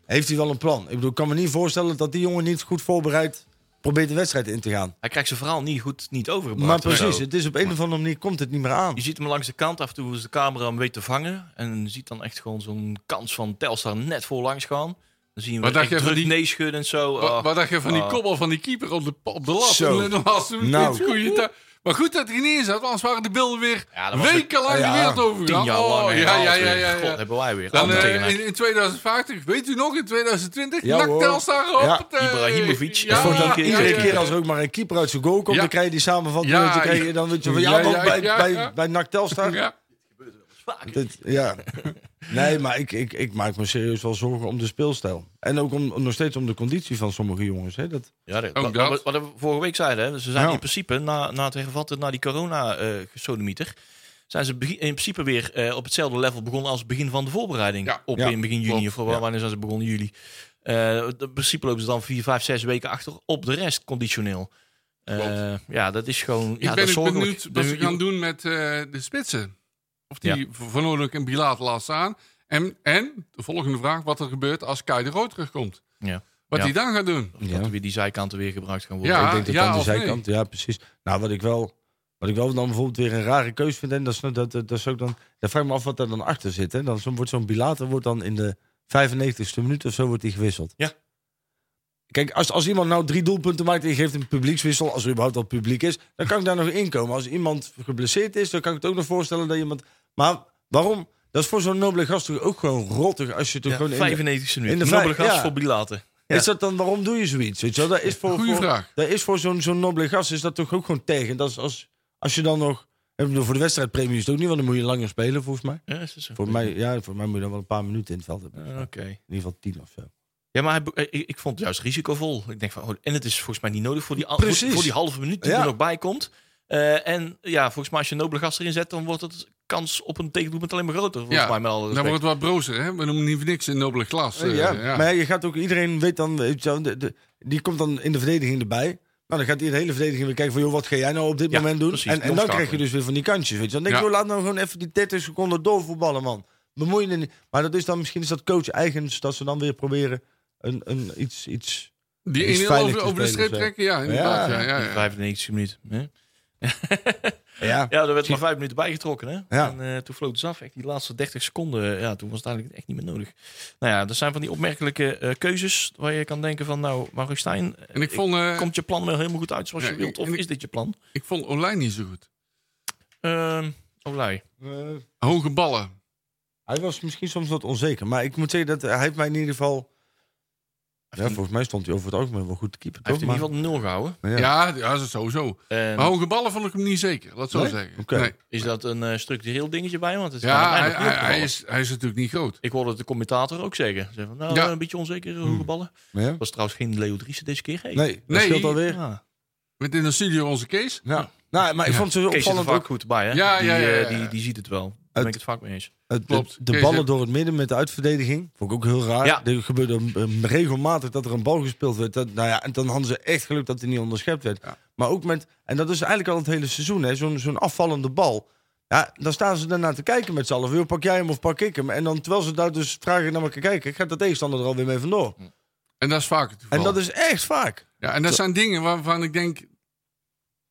heeft hij wel een plan. Ik bedoel, ik kan me niet voorstellen dat die jongen niet goed voorbereid probeert de wedstrijd in te gaan.
Hij krijgt zijn verhaal niet goed niet overgebracht.
Maar
of zo.
precies, het is op een of andere manier komt het niet meer aan.
Je ziet hem langs de kant af en toe als de camera hem weet te vangen. En je ziet dan echt gewoon zo'n kans van Telstar net voor langs gaan. Dan zien we
Wat
hem
dacht
echt
je van
druk
die-
nee schudden en zo.
Wat,
Ah.
wat dacht je van die
Ah.
kopbal van die keeper op de, op de lat?
Zo.
En dan was het een
Nou.
iets goede ta- Maar goed dat hij niet in zat, want anders waren de beelden weer
Ja, dat was
wekenlang
het-
de
ja,
wereld overgegaan.
Tien jaar lang.
Oh, ja,
herhaald
ja, ja,
weer.
ja,
God,
ja.
hebben wij weer.
Dan,
Allemaal
eh,
tegen elkaar.
in, in 2050, weet u nog, in 2020,
Ja,
ja,
hoor.
Telstar op
Ja.
het... eh,
Ibrahimovic.
Ja,
Voor
ja,
dat
ja,
Iedere
ja,
keer
ja.
als er ook maar een keeper uit zijn goal komt,
Ja.
dan krijg je die samenvatting.
Ja,
en dan, krijg
ja.
je, dan weet je van,
Ja,
ja,
ja,
want bij,
ja,
bij,
ja.
bij NAC Telstar...
Ja.
Dat, ja. Nee, maar ik, ik, ik maak me serieus wel zorgen om de speelstijl. En ook om, om nog steeds om de conditie van sommige jongens. Hè. Dat,
Ja, dat,
Ook
wat,
dat.
wat- wat we vorige week zeiden, hè, ze zijn
Ja.
in principe na, na het hervatten, na die corona-gesodemieter, zijn ze begin- in principe weer eh, op hetzelfde level begonnen als het begin van de voorbereiding.
Ja.
Op
Ja,
in begin juni,
klopt.
of wa- wanneer zijn ze begonnen? Juli. Eh, in principe lopen ze dan vier, vijf, zes weken achter op de rest, conditioneel. Eh,
Klopt.
ja, dat is gewoon.
Ik
ja, dat
ben
is
ook
zorgelijk.
benieuwd wat
Dus
ze
je-
gaan doen met eh, de spitsen. Of
Ja.
die Van Oorlog en Bilaat laat staan. En, en, de volgende vraag, wat er gebeurt als Kai de Rood terugkomt.
Ja.
Wat
Ja.
hij dan gaat doen.
Dat
Ja.
er weer die zijkanten weer gebruikt gaan worden.
Ja.
ik denk dat aan de
of nee?
zijkant. Ja, precies. Nou, wat ik wel, wat ik wel dan bijvoorbeeld weer een rare keus vind, en dat is, dat, dat, dat is ook dan, daar vraag ik me af wat daar dan achter zit. Hè? Dan zo- wordt zo'n Bilater wordt dan in de 95ste minuut of zo wordt hij gewisseld.
Ja.
Kijk, als, als iemand nou drie doelpunten maakt en je geeft een publiekswissel, als er überhaupt al publiek is, dan kan ik daar nog in komen. Als iemand geblesseerd is, dan kan ik het ook nog voorstellen dat iemand. Maar waarom? Dat is voor zo'n nobele gast toch ook gewoon rottig als je toch
Ja,
gewoon. in de-
95e minuut. In
in de
de
vijf-
Nobele gast
ja.
voor Bilater. Ja.
Is dat dan, waarom doe je zoiets? Weet je wel? Dat is voor,
Goeie
voor,
vraag.
Dat is voor zo'n zo'n nobele gast is dat toch ook gewoon tegen. Dat is als, als je dan nog... Ik bedoel, voor de wedstrijdpremie is het ook niet, want dan moet je langer spelen volgens mij.
Ja, is dat zo?
Voor mij, ja, voor mij moet je dan wel een paar minuten in het veld hebben.
Eh, Oké.
In ieder geval tien of zo.
Ja, maar hij be- eh, ik, ik vond het juist risicovol. Ik denk van, oh, en het is volgens mij niet nodig voor die, al-
Precies.
voor, voor die halve minuut die
Ja.
er nog bij komt. Eh, en ja, volgens mij als je een nobele gast erin zet, dan wordt het kans op een tegendoelpunt alleen maar groter. Volgens
Ja,
mij met alle
Dan
respect.
wordt het wat brozer, hè? We noemen niet voor niks een nobele glas. eh,
ja,
ja.
Maar ja, je gaat ook, iedereen weet dan, weet je wel, de- de- die komt dan in de verdediging erbij. Nou, dan gaat die de hele verdediging weer kijken van, joh, wat ga jij nou op dit
Ja,
moment doen?
precies,
en, en dan
omschakelen.
krijg je dus weer van die kantjes, weet je wel. Dan denk je,
Ja.
joh, laat nou gewoon even die 30 seconden doorvoetballen, man. Bemoei je er niet. Maar dat is dan, misschien is dat coach eigens, dat ze dan weer proberen een, een, iets, iets...
Die
Is
1-0
veilig
over,
te
over de
spelen,
streep
zeg.
trekken, ja, inderdaad.
Ja.
Ja, ja, ja.
95 minuut. Hè?
Ja,
Ja, er werd maar vijf minuten bijgetrokken. Hè?
Ja.
En eh, toen floot het af. Echt die laatste 30 seconden. eh, Ja, toen was het eigenlijk echt niet meer nodig. Nou ja, dat zijn van die opmerkelijke eh, keuzes. Waar je kan denken van, nou, Marustijn,
En ik vond, eh,
komt je plan wel helemaal goed uit zoals
Ja,
je wilt? Of
en ik-
is dit je plan?
ik vond Olijn niet zo goed.
Ehm Olij.
Eh,
Hoge ballen.
Hij was misschien soms wat onzeker, maar ik moet zeggen dat eh, hij heeft mij in ieder geval. Ja,
een-
volgens mij stond hij over het algemeen wel goed te keeper.
Hij heeft
toch?
in ieder geval nul gehouden.
Maar-
Ja,
ja.
ja, dat is sowieso.
En
Maar hoge ballen vond ik hem niet zeker, laat het zo
Nee?
zeggen.
Oké.
Nee.
is dat een eh, structureel dingetje bij? hem? Want het is
Ja,
mij nog
hij,
niet
hij, hij
opgevallen.
is, hij is natuurlijk niet groot.
Ik hoorde het de commentator ook zeggen. Zeg van, nou,
Ja. Hmm.
eh, een beetje onzeker, hoge ballen.
Ja?
Dat was trouwens geen Leo Driessen deze keer. Hey.
Nee, dat
Nee.
scheelt alweer. Ja.
Ah.
Met in de studio onze Kees.
Nou, maar ik
Ja.
vond het zo
Kees zit er
opvallend
vaak
ook.
goed bij, hè?
Ja,
die,
ja, ja,
eh,
ja, ja.
Die, die ziet het wel. Daar ben ik het vaak mee eens.
het- de-
Klopt.
De,
Kees
ballen
heeft-
door het midden met de uitverdediging. Vond ik ook heel raar.
Ja.
Er gebeurde eh, regelmatig dat er een bal gespeeld werd. Dat, nou ja, en dan hadden ze echt geluk dat hij niet onderschept werd.
Ja.
Maar ook met, en dat is eigenlijk al het hele seizoen, hè, zo'n zo'n afvallende bal. Ja, dan staan ze daarna te kijken met z'n allen. Wil pak jij hem of pak ik hem? En dan terwijl ze daar dus vragen naar elkaar kijken, gaat de tegenstander er alweer mee vandoor.
En dat is vaak het geval.
En dat is echt vaak.
ja, en dat zijn dingen waarvan ik denk,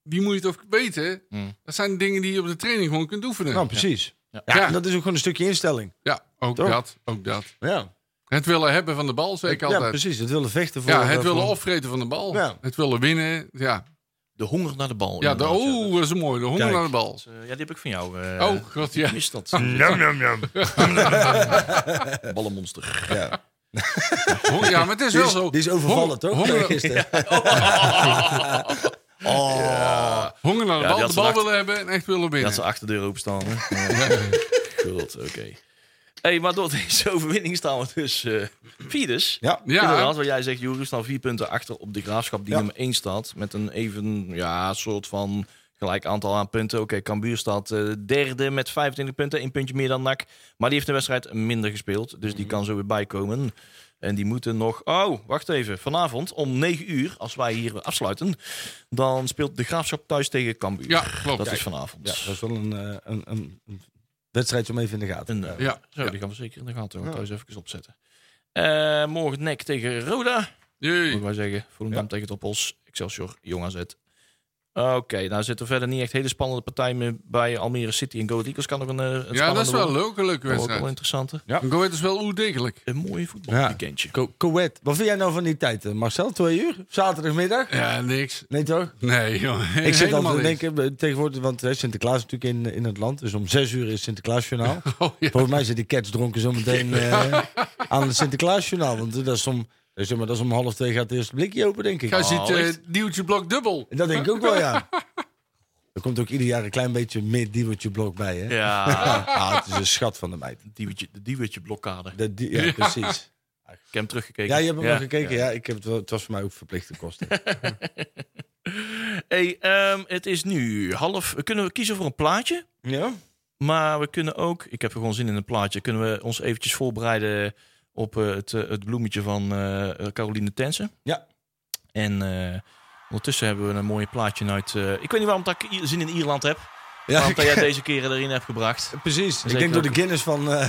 die moet je toch weten.
Hmm.
Dat zijn dingen die je op de training gewoon kunt oefenen.
Nou, precies. Mm. Ja.
Ja.
Ja.
en dat is ook gewoon een stukje instelling.
ja, ook
Toch?
dat, ook dat.
Ja,
Het willen hebben van de bal, zeg ik
ja
altijd.
precies. Het willen vechten voor...
Ja, het
eh,
willen
voor-
opvreten van de bal.
Ja.
Het willen winnen. Ja,
De honger naar de bal.
ja de,
inderdaad, ja.
oh, dat is mooi. De honger
Kijk.
naar de bal.
Dus, eh, ja, die heb ik van jou. eh,
Oh, god, ja.
Is dat?
Nom, nom, nom.
Ballenmonster.
Ja.
Hon- Ja, maar het is
Die,
wel
is,
zo.
die is overvallen,
Honger-
toch?
Honger,
Gisteren.
Oh,
honger naar de
Ja, die
bal. De
had ze
bal
lacht.
willen hebben en echt willen
Dat
winnen.
ze achter de deur openstaan. Hè? Goed, oké. Hey, maar door deze overwinning staan we dus eh vierdes.
Ja.
Ja,
Inderdaad, wat jij zegt, Joris, staan vier punten achter op de graafschap die
Ja.
nummer één staat. Met een even, ja, soort van gelijk aantal aan punten. Oké, Cambuur staat eh, derde met 25 punten. één puntje meer dan NAC. Maar die heeft een wedstrijd minder gespeeld. Dus die
Mhm.
kan zo weer bijkomen. En die moeten nog... Oh, wacht even. Vanavond om 9 uur, als wij hier afsluiten... dan speelt de Graafschap thuis tegen Cambuur.
ja klopt.
dat is vanavond.
Ja, dat is wel een, eh, een, een, een wedstrijdje om even in de gaten.
Een, eh,
Ja.
Zo,
Ja.
die gaan we zeker in de gaten houden.
Ja.
Thuis even opzetten. Eh, morgen nek tegen Roda.
Jee.
Moeten wij zeggen. Volendam tegen Toppos. Excelsior, Jong AZ. Oké, nou zitten er verder niet echt hele spannende partijen meer bij. Almere City en Go Ahead Eagles kan nog een, eh, een
Ja, dat is wel een
leuk.
leuke, leuke
Ook wel
wedstrijd.
interessante.
Ja.
Go Ahead is wel oerdegelijk.
Een mooie voetbalweekendje.
Co- Coët. Wat vind jij nou van die tijd, eh, Marcel? Twee uur? Zaterdagmiddag?
Ja, niks.
Nee, toch?
Nee, joh.
Ik zit
Helemaal
altijd te
niks.
denken, eh, tegenwoordig, want eh, Sinterklaas is natuurlijk in, in het land. Dus om zes uur is Sinterklaasjournaal.
Oh, ja.
Volgens mij zit die cats dronken zo meteen eh, aan het Sinterklaasjournaal. Want eh, dat is om, eh, zeg maar, dat is om half twee gaat het eerste blikje open, denk ik.
Jij ziet eh,
echt?
duwtje blok dubbel.
Dat denk ik ook wel, ja. Er komt ook ieder jaar een klein beetje meer diewertje blok bij, hè?
Ja,
Ah, het is een schat van de meid.
diewetje- de diewertje blokkade.
Dat die, ja, precies.
Ik heb hem teruggekeken.
Ja, je hebt hem nog gekeken. Ja. ik heb het, wel, het was voor mij ook verplichte kosten.
Hey, ehm, het is nu half. Kunnen we kiezen voor een plaatje?
ja?
Maar we kunnen ook, ik heb er gewoon zin in een plaatje, kunnen we ons eventjes voorbereiden op eh, het, eh, het bloemetje van eh, Caroline Tensen.
Ja.
En eh, ondertussen hebben we een mooie plaatje uit, eh, ik weet niet waarom dat ik i- zin in Ierland heb,
Ja,
waarom dat jij deze keren erin hebt gebracht.
precies. Ik
eh, Zeker
denk door de
ook.
Guinness van, eh,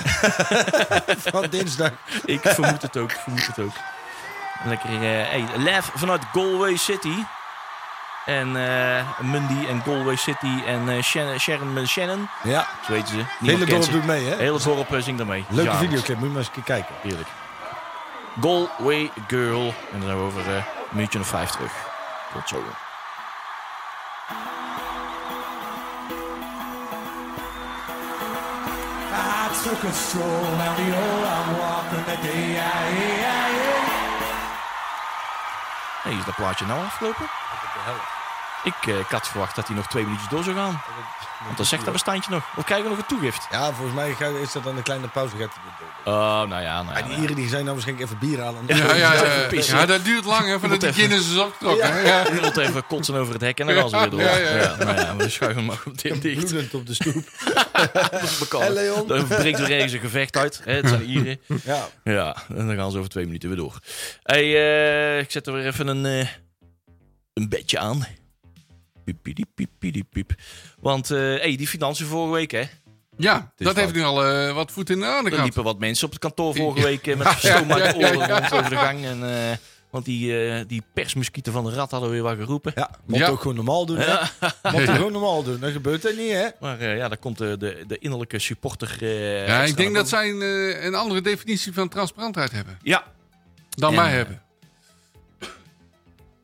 van dinsdag.
Ik vermoed het ook, ik vermoed het ook. Lekker eh hey, live vanuit Galway City. En eh Mundy en Galway City en eh, Shannon, Sharon met Shannon.
Ja,
Zo weten ze.
het
Niemand
hele dorp
kent ze.
doet mee, hè?
Hele dorp eh, zingt daarmee.
Leuke
Ja,
videoclip, moet je maar eens een keer kijken.
Heerlijk. Galway Girl. En dan zijn we over eh, een minuutje of vijf terug. Tot zo.
I took a stroll down the old I'm walking the day I,
Hey, is dat plaatje nou afgelopen? Ik, eh, ik had verwacht dat hij nog twee minuutjes door zou gaan. Want dan zegt dat bestandje nog. Of krijgen we nog een toegift?
Ja, volgens mij ga- is dat dan een kleine pauze. Gaat hij weer door.
Oh, nou ja, nou ja.
Ja, die Ieren die zijn nou waarschijnlijk even bier halen.
Ja, ja, ja.
pissen.
ja, dat duurt lang, hè, voordat die
even-
Guinness is opgetrokken. hè. Ja.
Iemand even kotsen over het hek en dan gaan ze
Ja,
weer door.
ja,
Ja,
ja.
nou ja, we schuiven hem op dit dicht.
Bloedend op de stoep.
Dan
Leon?
breekt er ergens een gevecht uit. Hè, het zijn Ieren.
Ja,
Ja, en dan gaan ze over twee minuten weer door. Hey, eh, ik zet er weer even een, eh, een bedje aan. Piep, piep, piep, piep, piep. Want eh, hey, die financiën vorige week, hè?
Ja, dat
fout.
heeft nu al eh, wat voet in de aarde
Er
gehad.
liepen wat mensen op het kantoor vorige week eh, met stoom uit de oren rond over de gang. En, eh, want die, eh, die persmuskieten van de rat hadden weer wat geroepen.
ja moet
Ja.
ook gewoon normaal doen. hè? Moet je gewoon normaal doen. Dat gebeurt er niet, hè?
Maar eh, ja, daar komt de, de, de innerlijke supporter. eh,
Ja,
extra
ik denk
naar
dat
boven.
zij een, eh, een andere definitie van transparantheid hebben
Ja,
dan
En,
wij
eh,
hebben.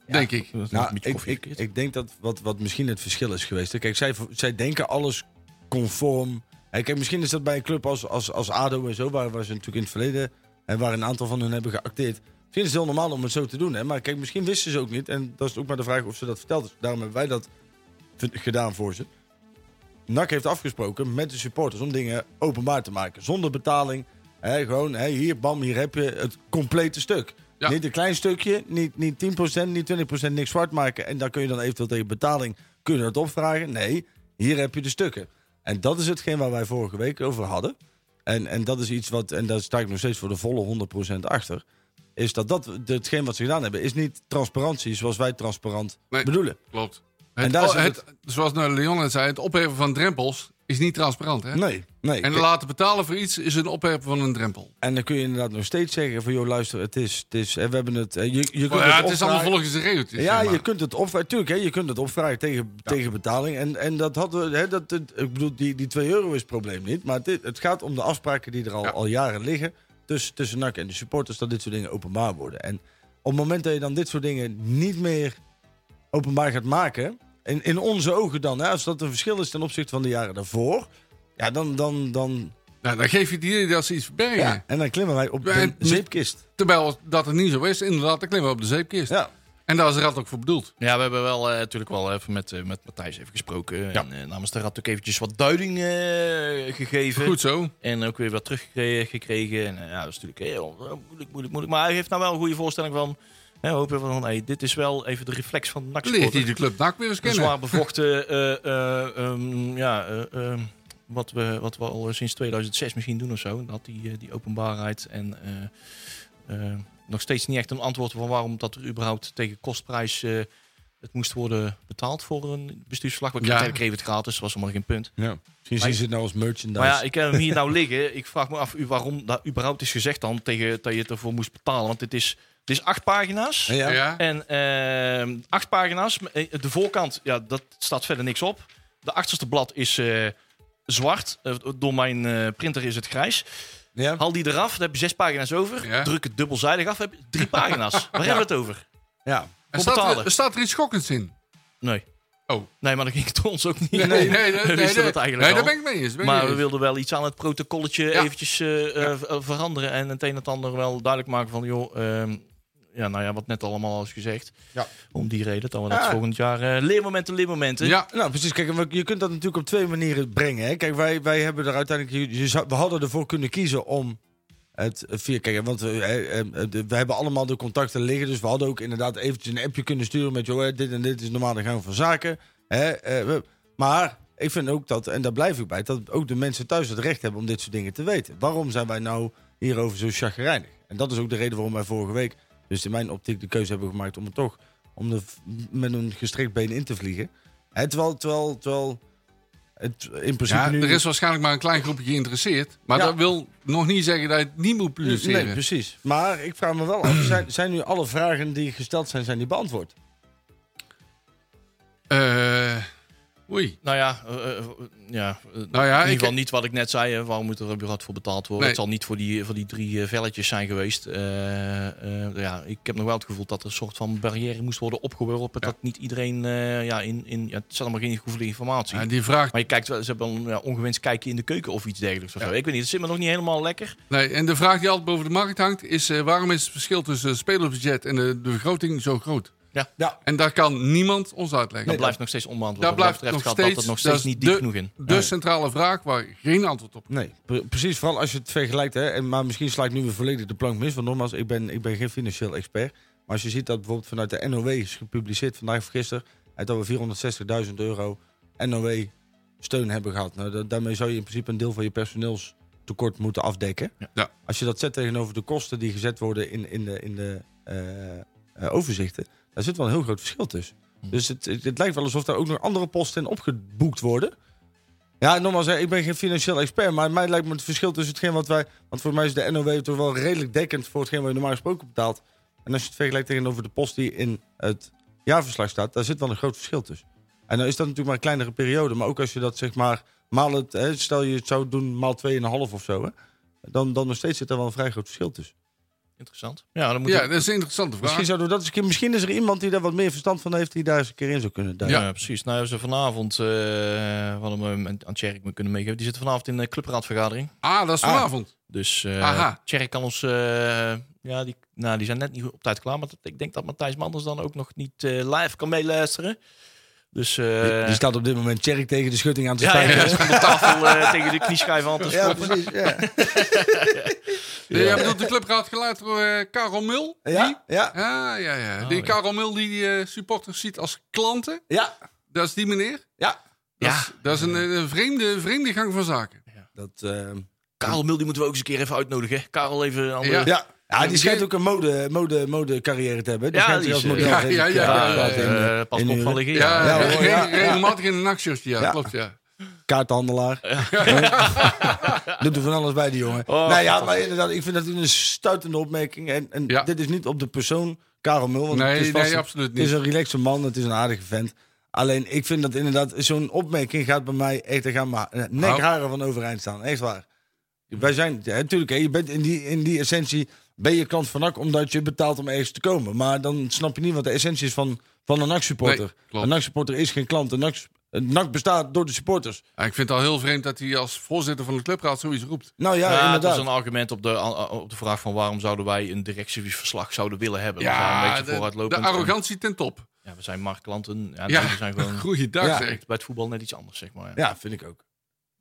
Denk ik.
Nou, ik, ik, ik denk dat wat, wat misschien het verschil is geweest. hè. Kijk, zij, zij denken alles conform. Hè, kijk, misschien is dat bij een club als, als, als ADO en zo, waar, waar ze natuurlijk in het verleden en waar een aantal van hun hebben geacteerd. Misschien is het heel normaal om het zo te doen, hè? maar kijk, misschien wisten ze ook niet. En dat is ook maar de vraag of ze dat verteld is. Daarom hebben wij dat v- gedaan voor ze. NAC heeft afgesproken met de supporters om dingen openbaar te maken. Zonder betaling. Hè, gewoon, hè, hier, bam, hier heb je het complete stuk.
Ja.
Niet een klein stukje, niet, niet 10%, niet 20%, niks zwart maken. En daar kun je dan eventueel tegen betaling kun je dat opvragen. Nee, hier heb je de stukken. En dat is hetgeen waar wij vorige week over hadden. En, en dat is iets wat, en daar sta ik nog steeds voor de volle 100% achter. Is dat, dat hetgeen wat ze gedaan hebben, is niet transparantie zoals wij transparant
Nee.
bedoelen.
Klopt. Het,
En daar
oh,
zit
het, Zoals nou Leon net zei, het opheffen van drempels is niet transparant. Hè?
Nee, nee.
En laten betalen voor iets is een opheffen van een drempel.
En dan kun je inderdaad nog steeds zeggen van... joh, luister, het is... Het is hè, we hebben het... hè, Je, je kunt
Maar ja, het is
opvragen.
allemaal volgens de regeltjes.
Ja,
zeg maar.
je kunt het opvragen. Tuurlijk, hè, je kunt het opvragen tegen, tegen betaling. En, en dat hadden we... Hè, dat, dat- ik bedoel, die, die 2 euro is het probleem niet. Maar dit, het gaat om de afspraken die er al,
Ja.
al jaren liggen... Tussen, tussen NAC en de supporters... dat dit soort dingen openbaar worden. En op het moment dat je dan dit soort dingen niet meer openbaar gaat maken... in, in onze ogen dan... Hè, als dat een verschil is ten opzichte van de jaren daarvoor... ja, dan... dan, dan
Nou, dan geef je het idee dat ze iets verbergen.
ja. En dan klimmen wij op de
En-
zeepkist.
Terwijl dat het niet zo is, inderdaad, dan klimmen we op de zeepkist.
Ja.
En daar is de rat ook voor bedoeld.
Ja, we hebben wel eh, natuurlijk wel even met, eh, met Matthijs even gesproken. En eh, namens de Rad ook eventjes wat duiding eh, gegeven.
Goed zo.
En ook weer wat teruggekregen. En eh, ja, dat is natuurlijk heel eh, moeilijk, moeilijk, moeilijk. Maar hij heeft nou wel een goede voorstelling van... Hè, hopen van, hey, dit is wel even de reflex van de nac
Leert hij de club NAC weer eens
Een
kennen.
zwaar bevochten... eh, eh, ehm, ja, eh, ehm, wat, we, wat we al sinds 2006 misschien doen of zo. Dat die, eh, die openbaarheid en... eh, eh, nog steeds niet echt een antwoord van waarom dat er überhaupt tegen kostprijs... eh, het moest worden betaald voor een bestuursverslag. We
Ja.
kregen kregen het gratis, dus was allemaal geen punt.
Ja. Misschien zien ze het nou als merchandise.
Maar ja, ik heb hem hier nou liggen. Ik vraag me af u- waarom dat überhaupt is gezegd dan tegen dat je het ervoor moest betalen. Want het is, het is acht pagina's.
Ja.
Ja.
En ehm, acht pagina's. Eh, De voorkant, ja, dat staat verder niks op. De achterste blad is eh, zwart. Eh, door mijn eh, printer is het grijs.
Ja.
Haal die eraf, dan heb je zes pagina's over.
Ja.
Druk het dubbelzijdig af, heb je drie pagina's. Waar hebben we het over?
Ja.
En
Kom
staat,
betalen.
er, staat er iets schokkends in?
Nee.
Oh.
Nee, maar dat ging het ons ook niet.
Nee, nee, nee.
We
nee,
wisten
nee,
dat eigenlijk
nee,
al.
daar ben ik mee eens. daar
Maar
ben ik mee
we
eens.
wilden wel iets aan het protocolletje
Ja.
eventjes eh, eh, v- eh, veranderen. En het een en het ander wel duidelijk maken van, joh, ehm, ja, nou ja, wat net allemaal al is gezegd.
Ja.
Om die reden dat we dat
Ah.
volgend jaar eh, leermomenten, leermomenten.
Ja,
Nou, precies. Kijk, en we- je kunt dat natuurlijk op twee manieren brengen. Hè. Kijk, wij, wij hebben er uiteindelijk... je- je zou- We hadden ervoor kunnen kiezen om het via... Kijk, want we, eh, eh, de- we hebben allemaal de contacten liggen. Dus we hadden ook inderdaad eventjes een appje kunnen sturen met... joh, eh, dit en dit is normaal de gang van zaken. Hè, eh, we- maar ik vind ook dat, en daar blijf ik bij... dat ook de mensen thuis het recht hebben om dit soort dingen te weten. Waarom zijn wij nou hierover zo chagrijnig? En dat is ook de reden waarom wij vorige week... dus in mijn optiek de keuze hebben gemaakt om het toch... om er f- met een gestrekt been in te vliegen... Hè, terwijl, terwijl, terwijl het, in principe
Ja,
nu...
er is waarschijnlijk maar een klein groepje geïnteresseerd. Maar
Ja.
dat wil nog niet zeggen dat je het niet moet publiceren.
dus-
Nee, precies. Maar ik vraag me wel af, zijn, zijn nu alle vragen die gesteld zijn, zijn die beantwoord?
Eh, oei.
Nou ja, eh, eh, ja eh, in
Nou ja,
ieder
ik-
geval niet wat ik net zei. hè. Waarom moet er een bureau voor betaald worden?
Nee.
Het zal niet voor die, voor die drie eh, velletjes zijn geweest. Eh, eh, ja, ik heb nog wel het gevoel dat er een soort van barrière moest worden opgeworpen. Dat niet iedereen, eh, ja, in, in, ja, het is allemaal geen gevoelige informatie.
Ja, die vraag.
Maar je kijkt, wel- ze hebben een ja, ongewenst kijkje in de keuken of iets dergelijks. Of zo. Ik weet niet, het zit me nog niet helemaal lekker.
Nee, en de vraag die altijd boven de markt hangt is: eh, waarom is het verschil tussen spelersbudget en de, de vergroting zo groot?
Ja.
Ja.
En daar kan niemand ons uitleggen.
Dat blijft nog steeds onbeantwoord.
Daar
Wat mij
blijft
betreft
nog
gaat
steeds,
dat er nog
dat
steeds
is
niet diep
de- dus-
genoeg in.
de centrale vraag waar geen antwoord op.
Nee, pre- precies. Vooral als je het vergelijkt. Hè, en, maar misschien sla ik nu weer volledig de plank mis. Want nogmaals, ik ben, ik ben geen financieel expert. Maar als je ziet dat bijvoorbeeld vanuit de NOW is gepubliceerd vandaag of gisteren. Uit dat we 460.000 euro NOW steun hebben gehad. Nou, da- daarmee zou je in principe een deel van je personeelstekort moeten afdekken.
Ja.
Als je dat zet tegenover de kosten die gezet worden in, in de, in de eh, eh, overzichten. Daar zit wel een heel groot verschil tussen.
Mm.
Dus het, het, het lijkt wel alsof daar ook nog andere posten in opgeboekt worden. Ja, nogmaals, hè, ik ben geen financieel expert, maar mij lijkt me het verschil tussen hetgeen wat wij... Want voor mij is de NOW toch wel redelijk dekkend voor hetgeen wat je normaal gesproken betaalt. En als je het vergelijkt tegenover de post die in het jaarverslag staat, daar zit wel een groot verschil tussen. En dan is dat natuurlijk maar een kleinere periode, maar ook als je dat zeg maar maal het... Hè, stel je het zou doen maal 2,5 of zo, hè, dan, dan nog steeds zit er wel een vrij groot verschil tussen.
Interessant. Ja, dan moet
Ja,
ik-
dat is een interessante vraag.
Misschien, zouden we dat eens een keer, misschien is er iemand die daar wat meer verstand van heeft, die daar eens een keer in zou kunnen duiken.
Ja, precies. Nou, hebben ze vanavond, eh wat we eh, aan Tjerk me kunnen meegeven, die zitten vanavond in de clubraadvergadering.
Ah, dat is vanavond.
Dus eh,
Aha.
Tjerk kan ons, eh, ja, die, nou, die zijn net niet op tijd klaar, maar dat- ik denk dat Matthijs Manders dan ook nog niet eh, live kan meeluisteren. Dus eh,
Die staat op dit moment cherry tegen de schutting aan te
ja,
staan.
ja, op de tafel eh, tegen de knieschijf aan te
ja,
schoppen.
precies. Ja.
Ja. Jij bedoelt de clubraad geluid door eh, Karel Mul? Die?
Ja, ja,
Ah, ja, ja.
Oh,
die
ja.
Karel Mul die die eh, supporters ziet als klanten.
ja,
Dat is die meneer.
ja.
Dat
Ja.
is, dat is een, eh, een vreemde, vreemde gang van zaken.
Dat, eh,
Karel Mul, die moeten we ook eens een keer even uitnodigen. hè. Karel even een andere-
Ja.
ja. ja, die
die
schijnt
ken-
ook een mode, mode, mode carrière te hebben. Die
Ja,
schijnt
die
zich
is,
als
eh,
model
ja,
redelijk,
ja, ja,
eh,
Eh,
ja,
in, eh,
pas
in
op
uren.
van liggen.
Ja,
Ja.
Ja, hoor,
re-
ja.
regelmatig in een nachtshirtje. Ja,
Ja.
klopt, ja.
Kaarthandelaar. Doet er van alles bij die jongen.
Oh,
nou ja, maar inderdaad, ik vind dat een stuitende opmerking. En, en
Ja.
dit is niet op de persoon Karel Mul. Want
Nee,
het is vast
nee,
een-
absoluut
Het is
niet.
een relaxe man, het is een aardige vent. Alleen, ik vind dat inderdaad, zo'n opmerking gaat bij mij echt, daar gaan mijn eh, nekharen van overeind staan. Echt waar. Wij zijn, ja, natuurlijk, hè, je bent in die, in die essentie, ben je klant van NAC omdat je betaalt om ergens te komen. Maar dan snap je niet wat de essentie is van, van een NAC-supporter.
Nee, klopt.
een NAC-supporter is geen klant. Een NAC, een NAC bestaat door de supporters.
Ja, Ik vind het al heel vreemd dat hij als voorzitter van de clubraad zoiets roept.
Nou ja,
Ja, dat
inderdaad.
is een argument op de, op de vraag van waarom zouden wij een directieverslag zouden willen hebben. We zijn een
Ja,
beetje
de,
vooruitlopend.
de arrogantie ten top.
En, Ja, we zijn marktklanten. Ja,
Ja,
we zijn gewoon
goeiedag
Ja.
zeg.
bij het voetbal net iets anders, zeg maar. Ja.
Ja, vind ik ook.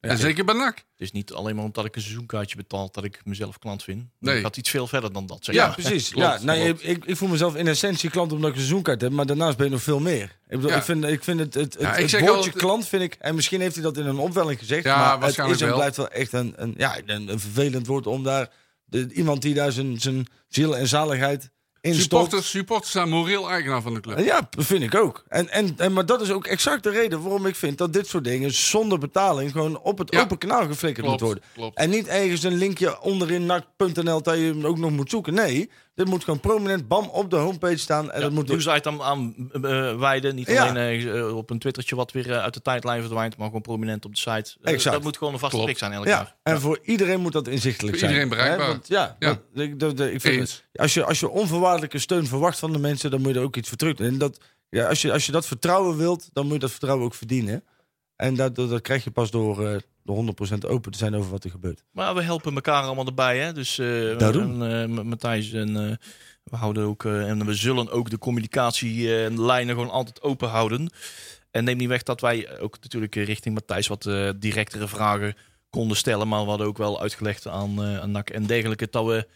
En zeker bij NAC.
Het is niet alleen maar omdat ik een seizoenkaartje betaal dat ik mezelf klant vind.
Nee.
Ik had iets veel verder dan dat, zeg
Ja,
maar.
Precies.
Klopt,
ja, nou,
klopt.
Ik, ik voel mezelf in essentie klant omdat ik een seizoenkaart heb, maar daarnaast ben je nog veel meer. Ik, bedoel,
Ja.
ik, vind, ik vind het, het, het,
Ja, ik
het
zeg
woordje
altijd-
klant, vind ik, en misschien heeft hij dat in een opwelling gezegd,
Ja,
maar het
waarschijnlijk
is en
wel.
blijft wel echt een, een, ja, een, een vervelend woord om daar de- iemand die daar zijn, zijn ziel en zaligheid in stopt.
Supporters, supporters zijn moreel eigenaar van de club.
Ja, vind ik ook. En, en, en, maar dat is ook exact de reden waarom ik vind dat dit soort dingen zonder betaling gewoon op het
Ja.
open kanaal geflikkerd
Klopt,
moet worden.
klopt.
En niet ergens een linkje onderin nac.nl dat je hem ook nog moet zoeken. Nee, dit moet gewoon prominent bam op de homepage staan. En
Ja,
dat moet dus
nieuwsitem aan eh, wijden. Niet
Ja.
alleen eh, op een twittertje wat weer eh, uit de tijdlijn verdwijnt, maar gewoon prominent op de site. Eh,
Exact.
Dat moet gewoon een vaste
Klopt.
prik zijn elk jaar.
Ja, en voor iedereen moet dat inzichtelijk
Voor
zijn.
iedereen bereikbaar.
Hè, want ja,
Ja.
dat- ik, dat- dat- ik vind
Eens.
het- als, je, als je onvoorwaardelijke steun verwacht van de mensen, dan moet je er ook iets voor terug. En dat, ja, als, je, als je dat vertrouwen wilt, dan moet je dat vertrouwen ook verdienen. En dat, dat, dat krijg je pas door eh de 100% open te zijn over wat er gebeurt.
Maar we helpen elkaar allemaal erbij, hè? Dus eh,
Daarom.
en, eh, M- Matthijs en eh, we houden ook eh, en we zullen ook de eh, communicatielijnen gewoon altijd open houden. En neem niet weg dat wij ook natuurlijk eh, richting Matthijs wat eh, directere vragen konden stellen, maar we hadden ook wel uitgelegd aan, eh aan NAC en dergelijke dat we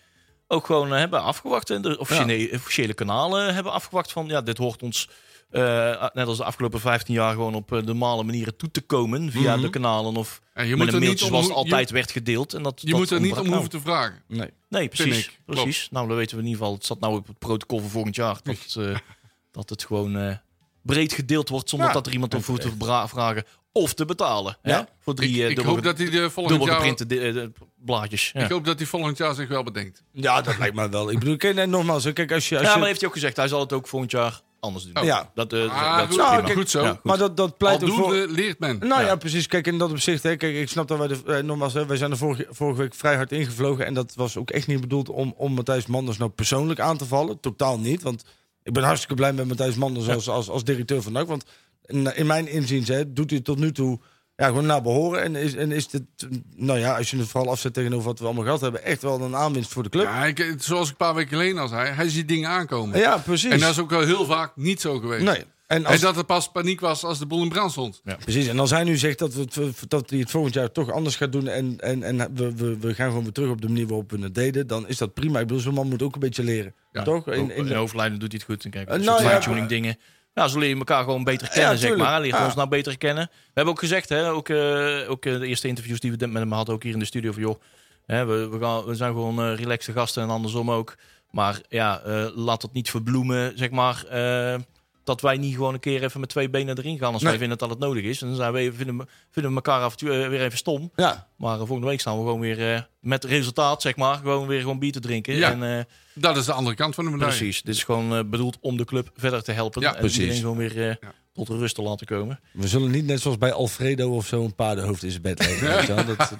ook gewoon eh, hebben afgewacht en de officiële, officiële kanalen hebben afgewacht van ja, dit hoort ons. eh, net als de afgelopen 15 jaar gewoon op eh, normale manieren toe te komen via de kanalen of
En je
met
moet
een
er niet
mailtje
om
zoals
hoe-
het altijd werd gedeeld. En dat,
Je
dat
moet er niet om
ontbrak
hoeven te vragen.
Nee.
nou. Nee, precies.
ik. Klopt.
precies. Nou, dan weten we in ieder geval. Het staat nou op het protocol voor volgend jaar. Dat, het, eh, dat het gewoon eh, breed gedeeld wordt zonder
Ja,
dat er iemand om voet te bra- vragen. of te betalen. Hè?
Ja.
Voor drie eh,
eh, ik
dubbel,
hoop dat hij de volgend
dubbel
jaar...
geprinte di- eh, blaadjes. Ja.
Ik hoop dat hij volgend jaar zich wel bedenkt.
Ja, dat lijkt me wel. Ik bedoel, kijk, nee, nogmaals, hè, kijk, als je... Als
ja,
je
maar heeft hij ook gezegd, hij zal het ook volgend jaar anders doen.
Oh.
Ja.
Dat, eh,
Ah,
dat is
goed.
prima.
Nou, goed zo.
Ja, goed.
maar dat, dat pleit ook voor...
Aldoende leert men.
Nou ja.
Ja.
precies. Kijk, in dat opzicht, hè, kijk, ik snap dat wij, de, eh, nogmaals, hè, wij zijn er vorige, vorige week vrij hard ingevlogen. En dat was ook echt niet bedoeld om, om Matthijs Manders nou persoonlijk aan te vallen. Totaal niet, want ik ben hartstikke blij met Matthijs Manders als, als, als directeur van NAC. Want in, in mijn inziens hè, doet hij het tot nu toe ja, gewoon naar behoren. En is, en is dit, nou ja, als je het vooral afzet tegenover wat we allemaal gehad hebben, echt wel een aanwinst voor de club. Ja,
Ja, ik, zoals ik een paar weken geleden al zei, hij ziet dingen aankomen.
precies.
En dat is ook wel heel vaak niet zo geweest.
nee. En
En
als,
dat er pas paniek was als de boel in brand stond.
Precies, en als hij nu zegt dat, we het, dat hij het volgend jaar toch anders gaat doen en, en, en we, we, we gaan gewoon weer terug op de manier waarop we het deden, dan is dat prima. Ik bedoel, zo'n man moet ook een beetje leren.
Ja,
toch?
In,
In, in,
overlijden doet hij het goed. En kijk,
Eh,
uh,
nou ja,
tuning dingen. Ja, zo leer je elkaar gewoon beter kennen, zeg
tuurlijk.
maar. Leer
Ja.
ons nou beter kennen. We hebben ook gezegd, hè, ook, eh, ook eh, de eerste interviews die we met hem hadden, ook hier in de studio, van joh, hè, we, we, gaan, we zijn gewoon eh relaxte gasten en andersom ook. Maar ja, eh, laat het niet verbloemen, zeg maar, eh, dat wij niet gewoon een keer even met twee benen erin gaan als wij vinden dat het nodig is. En dan zijn we, even- vinden, we, vinden we elkaar af en toe eh, weer even stom.
ja,
Maar eh, volgende week staan we gewoon weer eh, met resultaat, zeg maar, gewoon weer gewoon bier te drinken.
Ja.
En, eh,
Dat is de andere kant van de medaille.
Precies. Dit is gewoon eh, bedoeld om de club verder te helpen.
Ja,
en
precies.
iedereen gewoon weer eh,
Ja.
tot rust te laten komen.
we zullen niet net zoals bij Alfredo of zo een paardenhoofd in zijn bed leggen. weet je wel. Dat,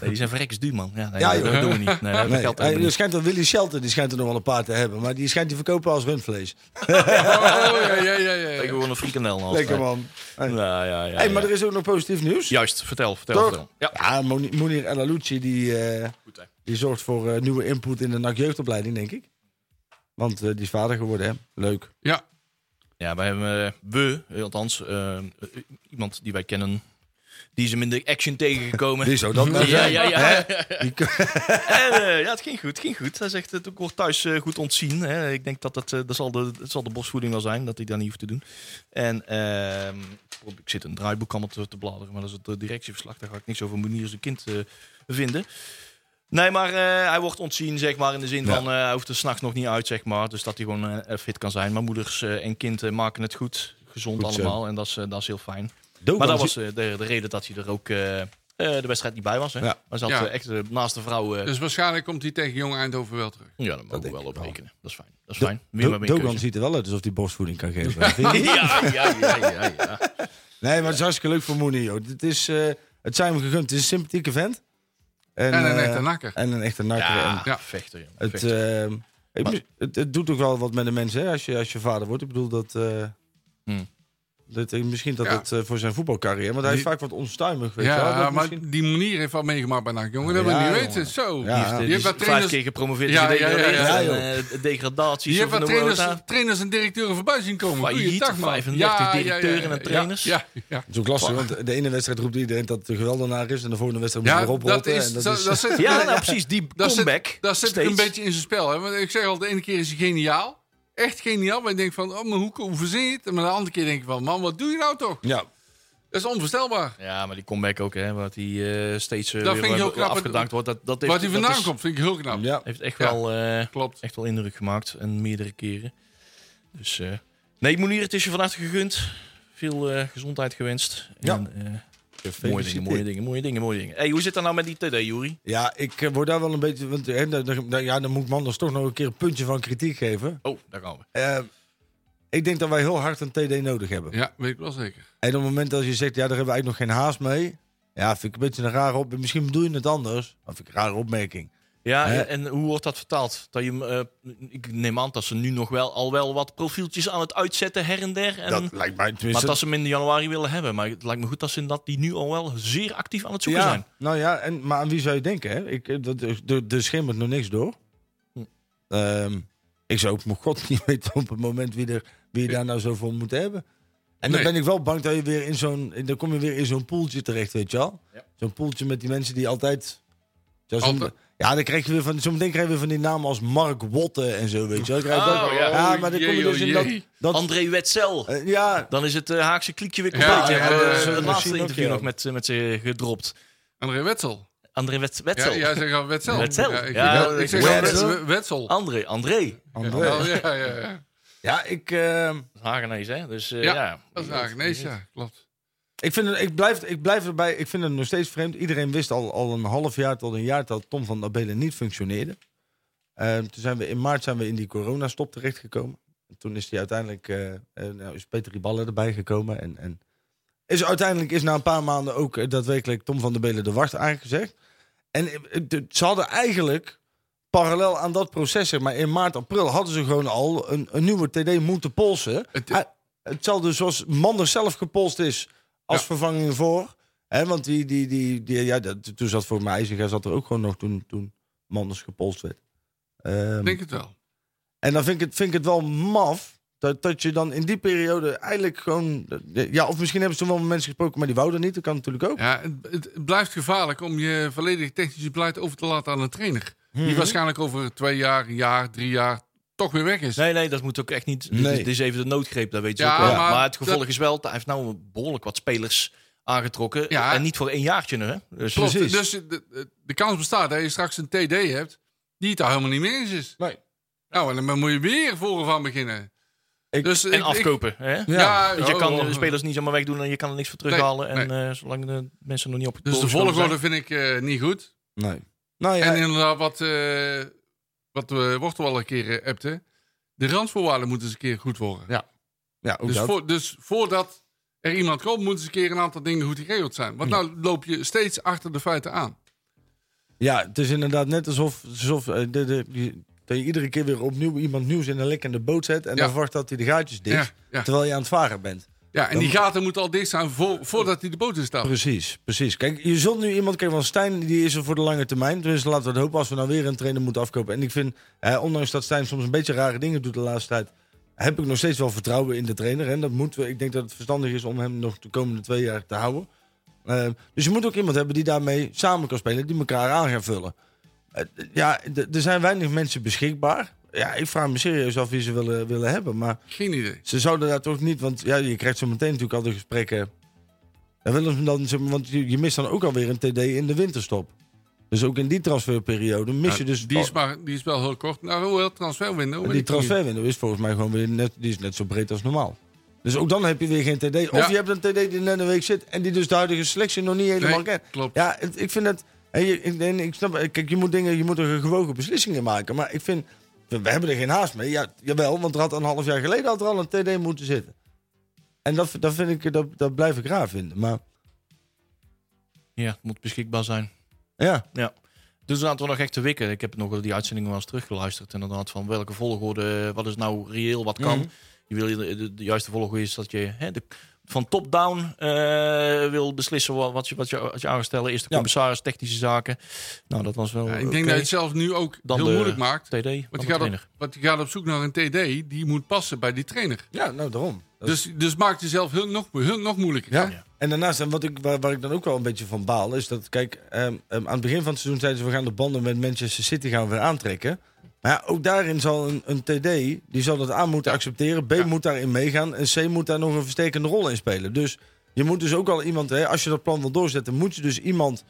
Nee, die zijn verrekkers duur, man. Ja, nee,
Ja,
dat
joh.
doen we niet. Nee, dat
nee.
geldt
Hij-
helemaal
er
niet.
schijnt dat Willy Shelton, die schijnt er nog wel een paar te hebben, maar die schijnt die verkopen als rundvlees.
Oh, ja, ja, ja, ja.
Ik wil gewoon een frikandel naast.
Lekker man.
Nee. Ja, ja, ja,
hey,
ja.
maar er is ook nog positief nieuws.
Juist, vertel, vertel,
Toch?
vertel. Ja.
Ja, Moni- Monir El Alouchi die, eh,
Goed, hè.
die zorgt voor eh, nieuwe input in de NAC jeugdopleiding, denk ik. Want eh, die is vader geworden, hè? Leuk.
Ja,
Ja, wij hebben eh, we, eh, althans, eh, eh, iemand die wij kennen, die is hem in de action tegengekomen.
Die zou dan wel
ja,
zijn.
ja, ja.
Die kun-
En, eh, ja, het ging goed, het ging goed. Hij zegt, het wordt thuis eh, goed ontzien. Hè. Ik denk dat dat, eh, dat, zal de, dat zal de bosvoeding wel zijn, dat hij dat niet hoeft te doen. En ehm, ik zit een draaiboek allemaal te, te bladeren, maar dat is het eh, directieverslag. Daar ga ik niks over manier zijn kind eh, vinden. Nee, maar eh, hij wordt ontzien, zeg maar, in de zin van eh, hij hoeft er s'nachts nog niet uit, zeg maar. Dus dat hij gewoon eh, fit kan zijn. Maar moeders eh, en kind eh, maken het goed, gezond
Goed zo.
allemaal. En dat is, eh, dat is heel fijn.
Doe
Maar
wel.
dat was eh, de, de reden dat hij er ook eh, eh, de wedstrijd niet bij was. Hè?
Ja.
Hij zat
Ja.
eh, echt eh, naast de vrouw. eh,
dus waarschijnlijk komt hij tegen Jong Eindhoven wel terug.
ja, daar mogen we
denk
wel
ik
op
wel.
rekenen. Dat is fijn. Dat is
Do-
fijn. Meer
Do-
maar meer
Dogan
keuze.
ziet er wel uit alsof hij borstvoeding kan geven. Vind je niet?
Ja, ja, ja, ja, ja.
Nee, maar het is hartstikke leuk voor Mooney, joh. Het, is, eh, het zijn hem gegund. Het is een sympathieke vent.
En een
eh,
echte nakker.
En een echte nakker.
Ja,
En
Ja.
vechter. jongen,
Het,
vechter.
eh, ik mis- het, het doet ook wel wat met de mensen, hè? Als je, als je vader wordt. Ik bedoel dat... eh,
Hmm.
dat eh, misschien dat
Ja.
het eh, voor zijn voetbalcarrière... Want hij is
Die-
vaak wat onstuimig, weet je wel.
Ja,
Dat
maar
misschien-
die manier heeft wat meegemaakt bij NAC, jongen. Dat wil
Ja,
je niet
jongen.
weten.
Ja.
Zo.
Die heeft, eh,
Dus Die
Je
is
hebt wat
vijf
trainers,
keer gepromoveerd. dus
Ja,
Ja,
ja, ja, ja,
ja,
eh, degradaties.
je hebt
of
wat
een
trainers,
Orota.
trainers en directeuren voorbij zien komen.
Failliet,
Goeiedag, man.
35 directeuren en trainers.
Ja, ja, ja.
Het is ook lastig, want de ene wedstrijd roept iedereen dat het een geweldenaar is... en de volgende wedstrijd moet
Ja,
je erop
dat
rotten,
is,
en
dat,
dat is-
dat zit,
Ja, nou precies. Die
dat
comeback.
zit, dat zit
steeds.
een beetje in zijn spel. Hè? Want ik zeg al, de ene keer is hij geniaal. Echt geniaal. Maar je denkt van, oh, maar hoe, hoe verzin je het? Maar de andere keer denk je van, man, wat doe je nou toch?
Ja,
Dat is onvoorstelbaar.
Ja, maar die comeback ook, hè. Wat hij eh, steeds eh,
Dat
weer
vind ik heel
eh,
knap.
afgedankt wordt. Dat, dat heeft,
Waar hij
dat
vandaan
is-
komt, vind ik heel knap.
ja.
Heeft echt
Ja.
wel... eh,
Klopt.
echt wel indruk gemaakt. En meerdere keren. Dus eh, nee, Monier, het is je van harte gegund. Veel eh, gezondheid gewenst.
Ja.
En, eh, mooie dingen, mooie dingen, mooie dingen, mooie dingen. Hey, hoe zit dat nou met die TD, Juri?
Ja, ik eh, word daar wel een beetje. Want hè, daar- daar- daar- ja, dan moet Manders toch nog een keer een puntje van kritiek geven.
Oh, daar gaan we.
Eh, ik denk dat wij heel hard een TD nodig hebben.
Ja, weet ik wel zeker.
En op het moment dat je zegt, ja, daar hebben we eigenlijk nog geen haast mee. Ja, vind ik een beetje een rare opmerking. Misschien bedoel je het anders. Maar vind ik een rare opmerking.
Ja,
Hè?
en, en hoe wordt dat vertaald? Dat je, hem, eh, ik neem aan dat ze nu nog wel al wel wat profieltjes aan het uitzetten her en der. En,
dat lijkt mij
maar
tenminste.
dat ze hem in januari willen hebben. Maar het lijkt me goed dat ze in dat die nu al wel zeer actief aan het zoeken
ja,
zijn.
Nou ja, en, maar aan wie zou je denken? Hè? Ik, eh, dat, er- er, er schimmert nog niks door.
Hm.
Ehm, ik zou ook mijn god niet weten op het moment wie, er, wie je daar nou zo voor moet hebben. En dan
Nee.
ben ik wel bang dat je weer in zo'n... Dan kom je weer in zo'n poeltje terecht, weet je wel?
Ja.
Zo'n poeltje met die mensen die altijd... Ja, zo'n-
Altijd.
ja, dan krijg je weer van... Zo'n ding krijg je weer van die namen als Mark Wotten en zo, weet je wel? Dan krijg je
Oh,
dat-
ja.
maar dan
Oh,
kom je
jee,
dus
oh,
in dat...
jee.
dat
André Wetzel.
eh, ja,
Dan is het eh, Haakse kliekje weer
Ja,
compleet.
ja,
hè? We
ja,
hebben
ja,
het
ja.
laatste
Misschien ook,
interview
ja.
nog met, eh, met ze gedropt.
André Wetsel.
André Wet- Wetzel.
Ja, jij zegt al Wetzel.
Wetzel.
Ja, ik,
Ja,
ik zeg
Wetzel.
al Wetzel. Nou,
André, André.
André.
Ja, ja, ja.
Ja, ik, eh,
Hagenees, hè? Dus eh,
Ja,
ja,
Dat is eigenlijk nee, ja, klopt.
ik, vind het, ik, blijf, ik blijf erbij. Ik vind het nog steeds vreemd. Iedereen wist al, al een half jaar tot een jaar dat Tom van der Belen niet functioneerde. Eh, toen zijn we in maart zijn we in die coronastop terechtgekomen. En toen is hij uiteindelijk eh, eh, nou, is Peter Riballe erbij gekomen. En, en is uiteindelijk is na een paar maanden ook eh, daadwerkelijk Tom van der Belen de wacht aangezegd. En eh, eh, de- ze hadden eigenlijk parallel aan dat proces, zeg maar in maart, april, hadden ze gewoon al een, een nieuwe TD moeten polsen.
Het-
Het, Hetzelfde zoals Manders zelf gepolst is als
Ja.
vervanging voor. Hè, want die, die, die, die, ja, dat, toen zat voor mij IJziger zat er ook gewoon nog toen, toen Manders gepolst werd. Ehm,
Ik denk het wel.
en dan vind ik het, vind ik het wel maf. Dat, dat je dan in die periode eigenlijk gewoon. Ja, of misschien hebben ze toen wel met mensen gesproken, maar die wouden niet. Dat kan natuurlijk ook.
Ja, het, het- het blijft gevaarlijk om je volledige technische beleid over te laten aan een trainer. Die
Mhm.
waarschijnlijk over twee jaar, een jaar, drie jaar toch weer weg is.
Nee, nee, dat moet ook echt niet. Dit,
Nee.
is, dit is even de noodgreep, dat weet je
Ja,
ook wel.
maar
Maar, het gevolg
dat-
is wel, hij heeft nou behoorlijk wat spelers aangetrokken.
Ja.
En niet voor één jaartje, hè? Dus,
Klopt.
Precies.
Dus de, de- de kans bestaat dat je straks een TD hebt die het daar helemaal niet mee eens is.
Nee.
Nou, en dan moet je weer voren van beginnen.
Ik-
dus
En afkopen, hè?
ja,
Want je
oh,
kan
oh.
de spelers niet zomaar wegdoen en je kan er niks voor terughalen. en eh, zolang de mensen nog niet op het
Dus de
doelschoon zijn.
volgorde vind ik eh, niet goed.
Nee. Nou ja,
En inderdaad, wat, eh wat we Wortel al een keer eh, appte. De randvoorwaarden moeten eens een keer goed worden.
ja ook
Dus,
dat.
voor, dus voordat er iemand komt, moeten ze een keer een aantal dingen goed geregeld zijn. Want nou loop je steeds achter de feiten aan.
Ja, het is inderdaad net alsof, alsof eh, de, de, die- dat je iedere keer weer opnieuw iemand nieuws in een lekkende boot zet. En
Ja.
dan verwacht dat hij de gaatjes dicht.
Ja, ja.
Terwijl je aan het varen bent.
Ja, en die gaten moeten al dicht zijn voor, voordat hij de boot instapt.
Precies, precies. Kijk, je zult nu iemand kijken, want Stijn die is er voor de lange termijn. Dus laten we het hopen als we nou weer een trainer moeten afkopen. En ik vind, eh, ondanks dat Stijn soms een beetje rare dingen doet de laatste tijd, heb ik nog steeds wel vertrouwen in de trainer. En dat moeten we, ik denk dat het verstandig is om hem nog de komende twee jaar te houden. Eh, dus je moet ook iemand hebben die daarmee samen kan spelen, die elkaar aan gaan vullen. Eh, d- ja, d- er zijn weinig mensen beschikbaar. Ja, ik vraag me serieus af wie ze willen, willen hebben. Maar
Geen idee.
ze zouden daar toch niet, want ja, je krijgt zo meteen natuurlijk al de gesprekken. En willen ze dan, zeg maar, want je, je mist dan ook alweer een TD in de winterstop. Dus ook in die transferperiode mis je
Ja,
dus
die, is maar, die is wel heel kort. Nou, hoewel, transferwindow.
en
weet
die
ik niet.
transferwindow is volgens mij gewoon weer net, die is net zo breed als normaal. Dus ook dan heb je weer geen TD. Of
Ja.
je hebt een TD die net een week zit en die dus de huidige selectie nog niet helemaal
Nee,
kent.
klopt.
Ja, het- ik vind dat. En je- ik, en ik snap, kijk, je moet, dingen, je moet er gewogen beslissingen maken. Maar ik vind, we, we hebben er geen haast mee. Ja, jawel, want er had een half jaar geleden had er al een TD moeten zitten. En dat, dat, vind ik, dat, dat blijf ik raar vinden. Maar
Ja, het moet beschikbaar zijn.
ja,
Ja. Dus een aantal nog echt te wikken. Ik heb nog die uitzendingen wel eens teruggeluisterd. Inderdaad, van welke volgorde, eh, wat is nou reëel, wat
Mhm.
kan. Je wil, de, de, de juiste volgorde is dat je hè, de, van top-down eh, wil beslissen wa- wat je, wat je, wat je aan gaat stellen. Eerst de
Ja.
commissaris, technische zaken. Nou, dat was wel.
Ja, ik denk
oké.
dat je het zelf nu ook
Dan
heel
de-
moeilijk maakt.
TD, dan de
Want je, gaat
trainer.
op, want je gaat op zoek naar een TD die moet passen bij die trainer.
ja nou daarom. Dat is-
Dus, dus maakt jezelf heel, nog, heel, nog moeilijker.
Ja. En daarnaast, en wat ik, waar, waar ik dan ook wel een beetje van baal, is dat, kijk, ehm, ehm, aan het begin van het seizoen zeiden ze, we gaan de banden met Manchester City gaan we weer aantrekken. Maar ja, ook daarin zal een, een TD, die zal dat A moeten accepteren, B moet daarin meegaan en C moet daar nog een verstekende rol in spelen. Dus je moet dus ook al iemand, hè, als je dat plan wil doorzetten, moet je dus iemand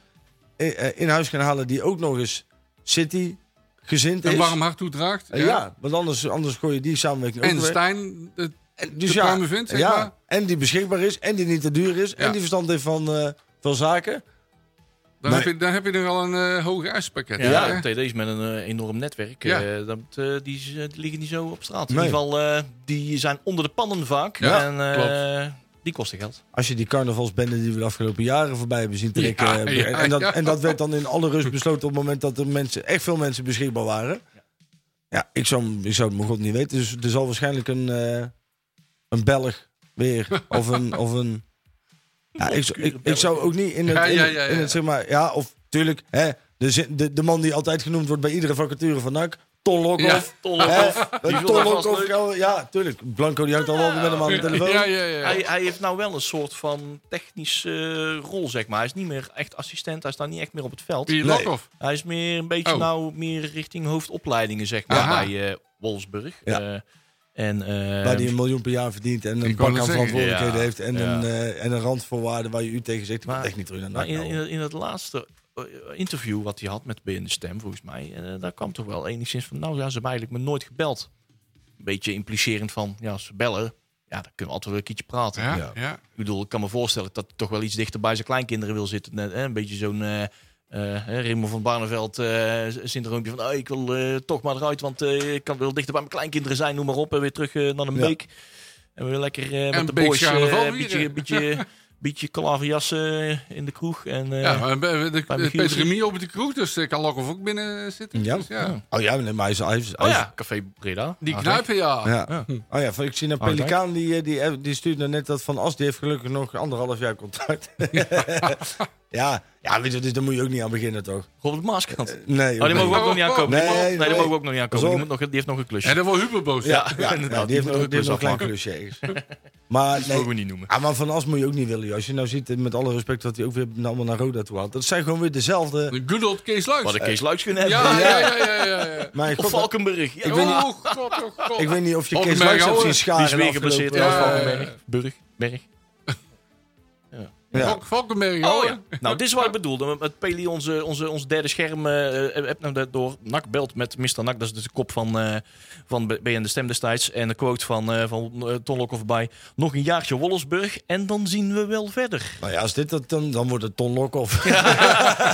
i- eh, in huis gaan halen die ook nog eens City gezind is.
En warm hart toedraagt.
Eh, ja. want anders, anders gooi je die samenwerking ook
En
weer.
Stijn, het-
En,
te pruimen vindt, zeg
Dus ja,
maar.
En die beschikbaar is, en die niet te duur is,
Ja.
en die verstand heeft van, eh, van zaken.
dan,
Nee.
heb je, dan heb je nog al een eh, hoger ijspakket.
Ja,
hè?
TD's met een eh, enorm netwerk.
Ja.
eh, dat, eh, die, is, eh, die liggen niet zo op straat.
Nee.
In ieder geval, eh, die zijn onder de pannen vaak.
Ja,
en eh, die kosten geld.
Als je die carnavalsbende die we de afgelopen jaren voorbij hebben zien trekken.
Ja,
eh,
ja,
en, dat,
ja.
en dat werd dan in alle rust besloten op het moment dat er mensen, echt veel mensen beschikbaar waren. Ja, ik zou, ik zou het mijn god niet weten. Dus er zal waarschijnlijk een, eh, een Belg weer. Of een. Of een ja, ik, zou- ik, ik zou ook niet in het,
Ja,
in,
ja,
het-
ja, ja.
in het zeg maar. Ja, of tuurlijk. Hè, de, zin- de, de man die altijd genoemd wordt bij iedere vacature van NAC. Ton
Ja,
Lokhoff.
Ton
Hè,
Lokhoff. Die
Ton
viel daar vast
Lokhoff,
leuk.
ja, Ja, tuurlijk. Blanco die hangt al wel met hem aan de telefoon.
Ja, ja, ja.
Hij, hij heeft nou wel een soort van technische eh, rol, zeg maar. Hij is niet meer echt assistent. Hij staat niet echt meer op het veld.
Die Lokhoff.
Hij is meer een beetje
Oh.
nou meer richting hoofdopleidingen, zeg maar,
Aha.
bij eh, Wolfsburg.
Ja.
Eh, en, eh,
Waar die een miljoen per jaar verdient en een
Ik wou
bak aan
net zeggen,
verantwoordelijkheden
ja,
heeft. En,
ja.
een, eh, en een randvoorwaarde waar je u tegen zegt. Maar,
Maar-
echt niet terug naar
Maar
NAC
in,
nou.
in, in het laatste eh, interview wat hij had met BN de Stem, volgens mij, eh, daar kwam toch wel enigszins van, nou ja, ze hebben eigenlijk me nooit gebeld. een beetje implicerend van, ja, als ze bellen, ja, dan kunnen we altijd weer een keertje praten.
Ja, ja.
Ja.
Ik bedoel, ik kan me voorstellen dat hij toch wel iets dichter bij zijn kleinkinderen wil zitten. Net, hè? Een beetje zo'n eh eh, hè, Raymond van Barneveld eh, syndroompje van... Oh, ik wil eh, toch maar eruit, want eh, ik kan wel dichter bij mijn kleinkinderen zijn. Noem maar op, en weer terug eh, naar de
Ja.
beek. En weer lekker eh,
En
met de
Beek
boys eh,
carnaval
een beetje,
vieren.
beetje, beetje klaverjas eh, in de kroeg. En, eh,
Ja, maar bij- bij de-
Bij
de
Michiel
Peter
Drie.
Remy op de kroeg, dus eh, kan Lokhoff ook binnen zitten.
Ja?
Dus ja.
Oh ja, nee, maar hij is... Hij is, hij
oh
is-
ja, Café Breda.
Die
Ah,
knijpen, ja.
Ja. Oh ja, van- ik zie een
Harderwijk.
pelikaan die, eh, die, eh, die stuurt nou net dat van As. Die heeft gelukkig nog anderhalf jaar contract. ja, ja weet je, dus daar moet je ook niet aan beginnen, toch?
Robert Maaskant.
Nee,
Oh,
joh,
die mogen we ook nog niet aankomen. Nee,
Eh, Nee,
nee, die
nee.
mogen we ook nog niet aankomen.
Pas
Die,
op.
moet nog, die heeft nog een klusje.
En dan wordt Huber boos.
ja,
nee,
inderdaad.
die heeft
moet
nog, die heeft nog een klein
klus
klusje ergens. maar,
afmaken.
nee,
Mogen we niet noemen.
ah, maar van As moet je ook niet willen. joh. Als je nou ziet, eh, met alle respect, dat hij ook weer na- allemaal naar Roda toe had. Dat zijn gewoon weer dezelfde...
De good old Kees Luijks.
Wat
Eh,
een Kees Luijks kunnen hebben.
Ja, ja, ja, ja, ja. ja.
Maar
Of
god,
Valkenburg. Ja,
Ik weet niet-
Oh, god, oh, god.
ik weet niet of je Kees
Valkenberg
Luijks hebt zien
houden.
scharen.
Die is weer
de afgelopen-
geblesseerd.
ja,
Ja,
ja, ja.
Valkenberg. Burg. Berg.
Ja.
Valk- Valkenberg,
Oh
hoor.
ja. Nou, dit is wat ik bedoelde. Met Peli, onze, onze, ons derde scherm, eh eh, app nou dat door. Nak belt met Mr. Nak. Dat is dus de kop van, eh van B- BN De Stem destijds. En de quote van, eh van eh, Ton Lokhoff bij. Nog een jaartje Wolfsburg en dan zien we wel verder.
Nou ja, als dit dat dan, dan wordt het Ton Lokhoff.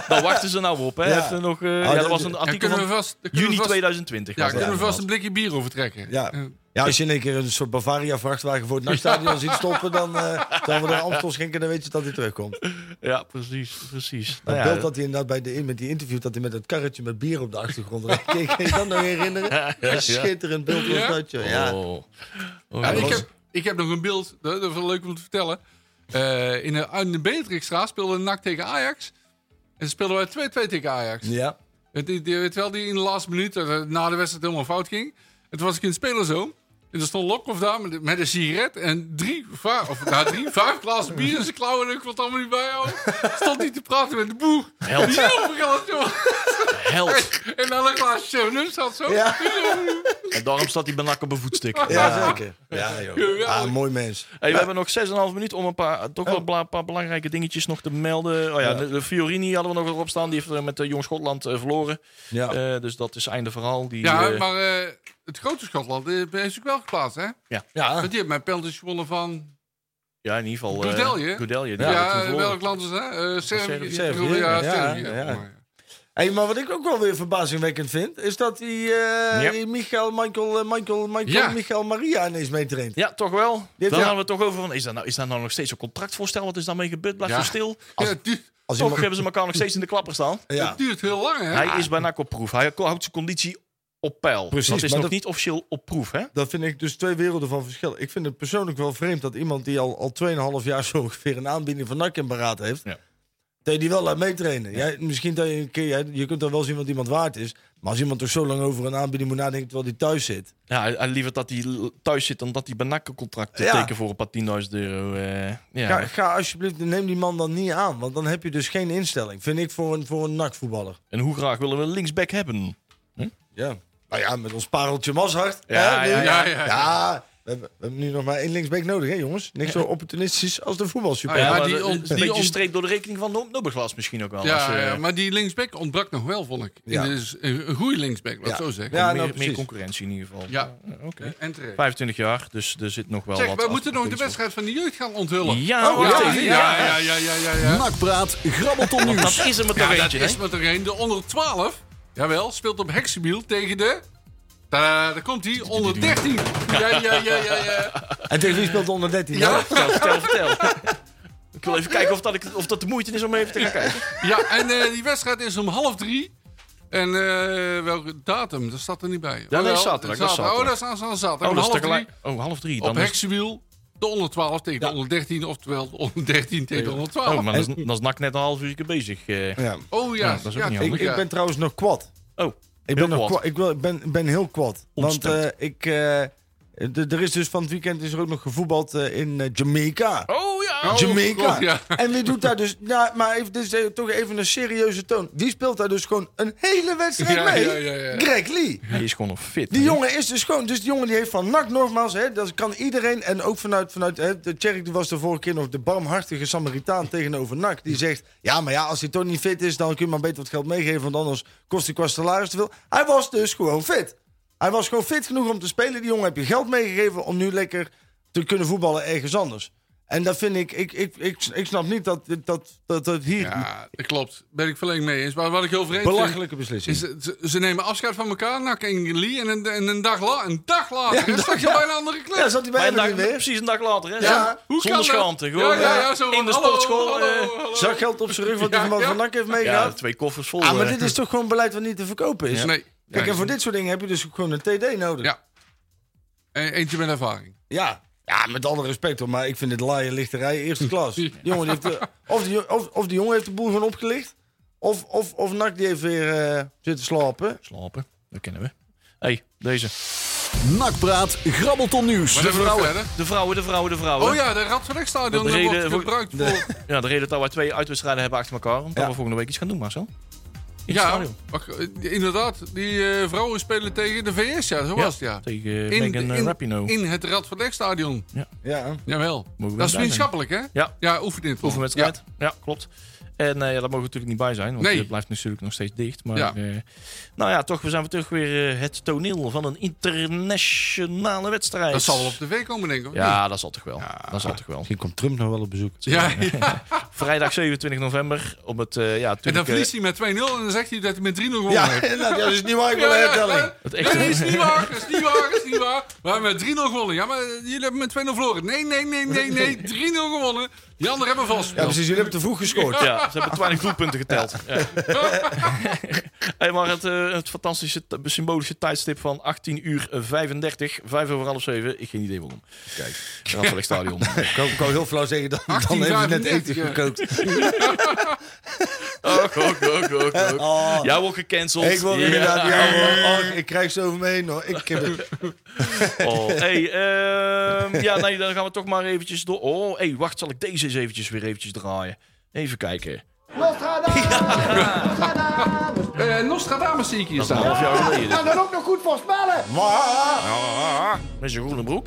Daar wachten ze nou op. Hè.
Ja.
Even nog, eh,
Ah,
ja,
dat-
dat was een
Ja,
artikel
kunnen we
van
vast, kunnen we
juni
vast,
2020.
Ja,
was dat.
kunnen we vast
inderdaad.
een blikje bier overtrekken.
Ja.
Eh,
Ja, als je in één keer een soort Bavaria-vrachtwagen voor het nachtstadion ziet stoppen, dan eh dan we er Amstel schenken, dan weet je dat hij terugkomt. Dan
ja precies. precies. Nou
beeld
ja,
dat hij inderdaad bij de, met die interview, dat hij met dat karretje met bier op de achtergrond rijdt. Kun je je dat nog herinneren? Een schitterend beeld was
Ja?
dat, joh. Ja.
Oh. Oh,
Ja,
dat
ik,
was-
heb, ik heb nog een beeld, eh, dat dat is wel leuk om te vertellen. Eh, in, de, in de Beatrixstraat speelde NAC tegen Ajax. En speelden wij 2-2 tegen Ajax.
Ja.
Het, die, die- weet je wel, die in de laatste minuut, eh, na de wedstrijd helemaal fout ging. En toen was ik in het spelerzoon. En er stond Lokhoff daar met, met een sigaret en drie, va- of, nou, drie vijf glazen bier in zijn klauwen. En ik wil het allemaal niet bijhouden. Stond hij te praten met de boer.
Held.
Die overkant, joh.
Held.
En dan een glaasje 7 zat zo.
Ja.
En daarom staat hij bij NAC op een voetstuk.
Ja, zeker. Ja, joh. Ah, mooi mens.
Hey, we hebben nog 6,5 minuten om een paar, toch
Oh.
wel bla- paar belangrijke dingetjes nog te melden. Oh ja, De, de Fiorini hadden we nog erop staan. Die heeft eh, met eh, Jong Schotland eh, verloren.
Ja.
Eh, dus dat is einde verhaal. Die,
Ja,
eh,
maar eh, het grote Schotland eh, heeft zich wel geplaatst, hè?
ja.
Want die heeft mijn penalties gewonnen van...
ja, in ieder geval... eh,
Goedelje?
Goedelje, die
Ja,
hadden toen
in
verloren.
welk land is dat? Eh Servië.
Servië.
Servië. Ja,
Ja,
Servië.
ja.
Ja.
Hey, maar wat ik ook wel weer verbazingwekkend vind, is dat die, eh
Ja.
die Michael, Michael, eh, Michael, Michael,
Ja.
Michael Maria ineens meetraint.
Ja, toch wel. Dan
heeft-
hadden
ja.
we het toch over van, is daar nou, is daar nou nog steeds een contractvoorstel? Wat is daarmee gebeurd? Blijf
Ja.
zo stil.
Ja, het, duurt,
Als
Toch
iemand-
hebben ze elkaar nog steeds in de klapper staan.
ja.
het duurt heel lang, hè?
Hij is bij NAC op proef. Hij houdt zijn conditie op peil.
Precies,
dat is
maar
nog
dat-
niet officieel op proef, hè?
Dat vind ik dus twee werelden van verschil. Ik vind het persoonlijk wel vreemd dat iemand die al, al 2,5 jaar zo ongeveer een aanbieding van NAC in beraad heeft,
Ja.
dat je die wel laat meetrainen. Jij, misschien dat je een keer, jij- je kunt dan wel zien wat iemand waard is, maar als iemand toch zo lang over een aanbieding moet nadenken terwijl die thuis zit.
Ja, hij- hij liever dat hij l- thuis zit dan dat hij bij NAC een contract te
Ja.
tekenen voor een paar 10.000 euro. eh, ja.
Ga, ga alsjeblieft, neem die man dan niet aan, want dan heb je dus geen instelling, vind ik, voor een, voor een NAC-voetballer.
En hoe graag willen we een linksback hebben?
Ja. Nou ja, met ons pareltje Mazhart.
Ja,
hè, nu?
ja,
ja, ja.
Ja, we hebben, we hebben nu nog maar één linksback nodig, hè jongens? Niks zo opportunistisch als de voetbalsuper.
Ah, ja,
Ja,
maar
maar
die
die
on-
een
die
beetje
on-
streep door de rekening van Nob- Nobberglas misschien ook wel.
Ja,
als, eh,
ja, maar die linksback ontbrak nog wel, vond ik.
Ja.
En Dus een, een goede linksback, laat
Ja.
ik zo zeggen.
Ja, nou,
meer, meer
precies.
concurrentie in ieder geval.
Ja.
Eh, Oké.
En terecht.
25 jaar, dus er zit nog wel
Zeg,
wat...
we moeten nog de
achtergrond.
wedstrijd van de jeugd gaan onthullen.
Ja, wacht
ja,
even.
ja, ja, ja, ja, ja, ja.
Nakpraat, grabbelton nieuws.
Dat is er maar toch
Ja, dat
eentje, hè?
is maar er een. De onder 12, jawel, speelt op Hexenbiel tegen de... Tadaa, daar komt hij, onder 13. Ja, ja, ja, ja, ja.
En tegen wie speelt de onder 13?
Ja.
Vertel, vertel, vertel. Ik wil even kijken of dat, ik, of dat de moeite is om even te gaan kijken.
Ja, en eh, die wedstrijd is om half drie. En eh, welke datum? Dat staat er niet bij.
nee,
Oh, wel,
zaterdag, dat is
Oh, dat is aan aan zaterdag.
Oh,
Om
dat is
half
tegelijk...
drie
Oh, half drie.
op
Dan is...
Hexenbiel. De onder 12 tegen de onder 13. Oftewel de onder 13 tegen de onder
Oh,
12.
maar dan is, dan is NAC net een half uur bezig. eh.
Ja.
Oh
Ja,
ja,
dat is ook
ja,
niet
Ik,
handig.
ik ben trouwens nog kwad.
Oh,
Ik
Heel
ben, nog
kwad.
kwa- ik wil, ik ben, ik ben heel kwad. Want
Ontsteld.
eh, ik, eh, d- er is dus van het weekend is er ook nog gevoetbald eh, in eh, Jamaica.
Oh ja!
Oh,
Jamaica.
God, ja.
En wie doet daar dus... Nou, maar even, dit is eh, toch even een serieuze toon. Die speelt daar dus gewoon een hele wedstrijd
Ja,
mee.
ja, ja, ja.
Greg Lee.
Hij is gewoon nog fit.
Die
hè?
jongen is dus gewoon... Dus die jongen die heeft van NAC nogmaals... Hè, dat kan iedereen... En ook vanuit... vanuit hè, de Tjerk die was de vorige keer nog de barmhartige Samaritaan tegenover NAC. Die zegt... Ja, maar ja, als hij toch niet fit is... Dan kun je maar beter wat geld meegeven. Want anders kost hij qua salaris te veel. Hij was dus gewoon fit. Hij was gewoon fit genoeg om te spelen. Die jongen heb je geld meegegeven om nu lekker te kunnen voetballen ergens anders. En dat vind ik, ik, ik, ik, ik snap niet dat dat, dat, dat hier
Ja, dat klopt. Ben ik volledig mee eens. Maar wat ik heel vreemd vind...
belachelijke beslissing.
Is, dat ze, ze nemen afscheid van elkaar, Nak en Lee, en een, en een dag, la, een dag later
Ja,
ja,
dag-
straks
ja.
bij een andere club.
Ja, zat hij
Maar
bij
een
hem
dag,
niet meer?
precies een dag later, hè?
Ja.
Zonder- Zonder
kan dat?
schaamte,
Ja,
gewoon. eh,
ja, ja, zo
in
van,
de
hallo,
sportschool.
hallo,
eh,
hallo.
Zak geld op zijn rug wat hij
Ja,
van
ja.
Van Nak heeft
ja,
meegehaald.
twee koffers vol.
Ah, maar
eh.
dit is toch gewoon beleid wat niet te verkopen is?
Nee.
Kijk,
Nee.
en voor dit soort dingen heb je dus ook gewoon een TD nodig.
Ja. E- Eentje met ervaring.
Ja, ja, met alle respect hoor, maar ik vind dit laaien lichterij eerste klas. Die jongen die heeft de, of, die, jo- of, of die jongen heeft de boel gewoon opgelicht. Of, of, of Nak die heeft weer eh, zitten slapen.
Slapen, dat kennen we. hey, deze.
Nakpraat, grabbelton nieuws.
Maar de vrouwen. Verder.
De vrouwen, de vrouwen, de vrouwen.
Oh ja, de Radverlegstadion
Dat
dat
reden
wordt
voor-
gebruikt voor...
Ja, de reden dat wij twee uitwedstrijden hebben achter elkaar. Omdat
Ja.
we volgende week iets gaan doen, Marcel. In het
ja,
stadion.
wacht, eh, inderdaad. Die eh, vrouwen spelen tegen de VS, ja, zo was het, ja.
Tegen eh, Megan eh, Rapinoe.
in het Radverlegstadion.
Ja.
Jawel.
Mogen we
Dat is
bij zijn.
vriendschappelijk, hè?
Ja.
Ja, oefenen in het land.
Oefenwedstrijd. Ja. klopt. En eh, ja, daar mogen we natuurlijk niet bij zijn, want
Nee.
het blijft natuurlijk nog steeds dicht. Maar
Ja.
eh, nou ja, toch we zijn we terug weer eh, het toneel van een internationale wedstrijd.
Ja. Dat zal wel op tv komen, denk ik. of niet?
Ja, dat zal toch wel. Dat zal toch wel.
Misschien komt Trump nog wel op bezoek.
Ja, ja.
Vrijdag 27 november om het, eh, ja,
En dan
natuurlijk, eh,
verliest hij met 2-0 en dan zegt hij dat hij met 3-0 gewonnen
Ja,
heeft.
nou, dat is niet waar ik wil
Ja, ja,
hertellen.
ja.
eh, Het echte-
Nee, is niet waar, is niet waar, is niet waar. We hebben met 3-0 gewonnen. Ja, maar jullie hebben met 2-0 verloren. Nee, nee, nee, nee, nee. 3-0 gewonnen. Die anderen hebben vast.
Ja, precies. Jullie hebben te vroeg gescoord.
Ja, ze hebben 12 doelpunten geteld. Ja. hey, maar het, eh, het fantastische t- symbolische tijdstip van 18 uur 35, 5 over half 7. Ik geen idee waarom. Kijk, Rafelijk Stadion.
Ik kan, ik kan heel flauw zeggen, dan, dan
18,
hebben ze net eten
35, ja.
gekookt.
ook, ook, ook, ook, ook.
Oh,
Jou wordt gecanceld.
ik wil
Ja.
inderdaad... Ja, maar, oh, ik krijg ze over me heen. hoor. Ik heb het.
Oh, hey, ehm, ja, nee, dan gaan we toch maar eventjes door. Oh, hey, wacht, zal ik deze eens eventjes weer eventjes draaien? Even kijken.
Eh, Nostradamus zie ik hier
Dat is een
staan.
half jaar geleden.
kan ook nog goed voorspellen.
Met zijn groene broek.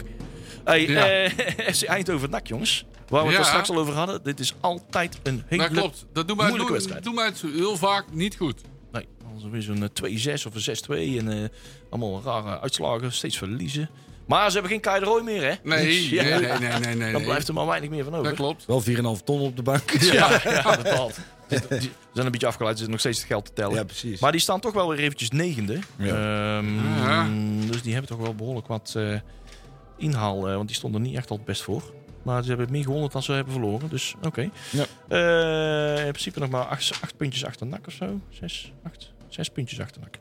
Hey,
Ja.
eh, FC Eindhoven NAC, jongens. Waar we het
Ja.
er straks al over hadden. Dit is altijd een hele...
Dat klopt. Dat doen wij,
Moeilijke
doen,
wedstrijd.
doen wij het heel vaak niet goed.
Nee, anders is een eh, 2-6 of een 6-2. En eh, allemaal rare uitslagen. Steeds verliezen. Maar ze hebben geen Kai de Roy meer, hè?
Nee,
Dus, ja,
nee, nee, nee, nee. nee,
Dan
nee.
blijft er maar weinig meer van over.
Dat klopt.
Wel 4,5 ton op de bank.
Ja, ja bepaald. Ze ze zijn een beetje afgeleid. Ze zitten nog steeds het geld te tellen.
Ja, precies.
Maar die staan toch wel weer eventjes negende. Ehm,
Ja.
Dus die hebben toch wel behoorlijk wat eh, inhaal. eh, want die stonden niet echt al het best voor. Maar ze hebben meer gewonnen dan ze hebben verloren. Dus oké.
Ja.
Eh, in principe nog maar acht, acht puntjes achter NAC of zo. Zes, acht, zes puntjes achter NAC.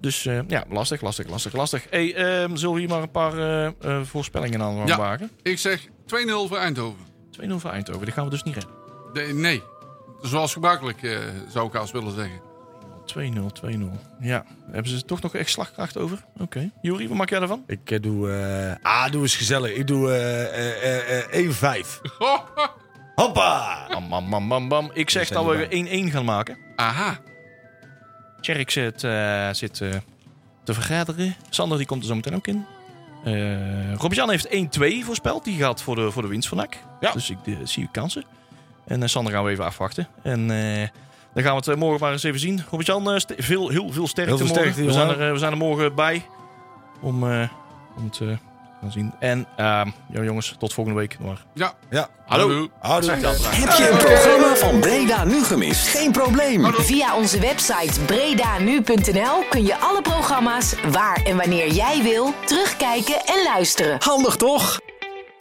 Dus eh, ja, lastig, lastig, lastig, lastig. Hey, ehm, zullen we hier maar een paar eh, eh, voorspellingen aan gaan
Ja.
wagen?
Ik zeg 2-0 voor Eindhoven.
2-0 voor Eindhoven. Die gaan we dus niet redden.
Nee, nee. Zoals gebruikelijk, eh, zou ik als willen zeggen.
2-0, 2-0. Ja, hebben ze toch nog echt slagkracht over? Oké. Jury, wat maak jij ervan?
Ik eh, doe... eh, ah, doe eens gezellig. Ik doe eh, eh, eh, eh, 1,5. Hoppa!
Bam, bam, bam, bam, bam. Ik zeg
zijn
dat
er
we 1-1 gaan maken.
Aha.
Tjerk zit, eh, zit eh, te vergaderen. Sander die komt er zo meteen ook in. Eh Robjan heeft 1-2 voorspeld. Die gaat voor de, voor de winst van NAC.
Ja.
Dus ik eh, zie kansen. En eh, Sander gaan we even afwachten. En eh, dan gaan we het eh, morgen maar eens even zien. Robjan, eh, ste- veel, heel veel sterkte
Heel veel
morgen. we,
sterkte,
zijn er,
jongen.
eh, we zijn er morgen bij om, eh, om het eh, te gaan zien. En ehm, ja, jongens, tot volgende week. Maar
Ja.
Ja. Ah,
Hallo.
Houdoe.
Heb je een programma van Breda nu gemist? Geen probleem.
Via onze website bredanu.nl kun je alle programma's waar en wanneer jij wil terugkijken en luisteren.
Handig toch?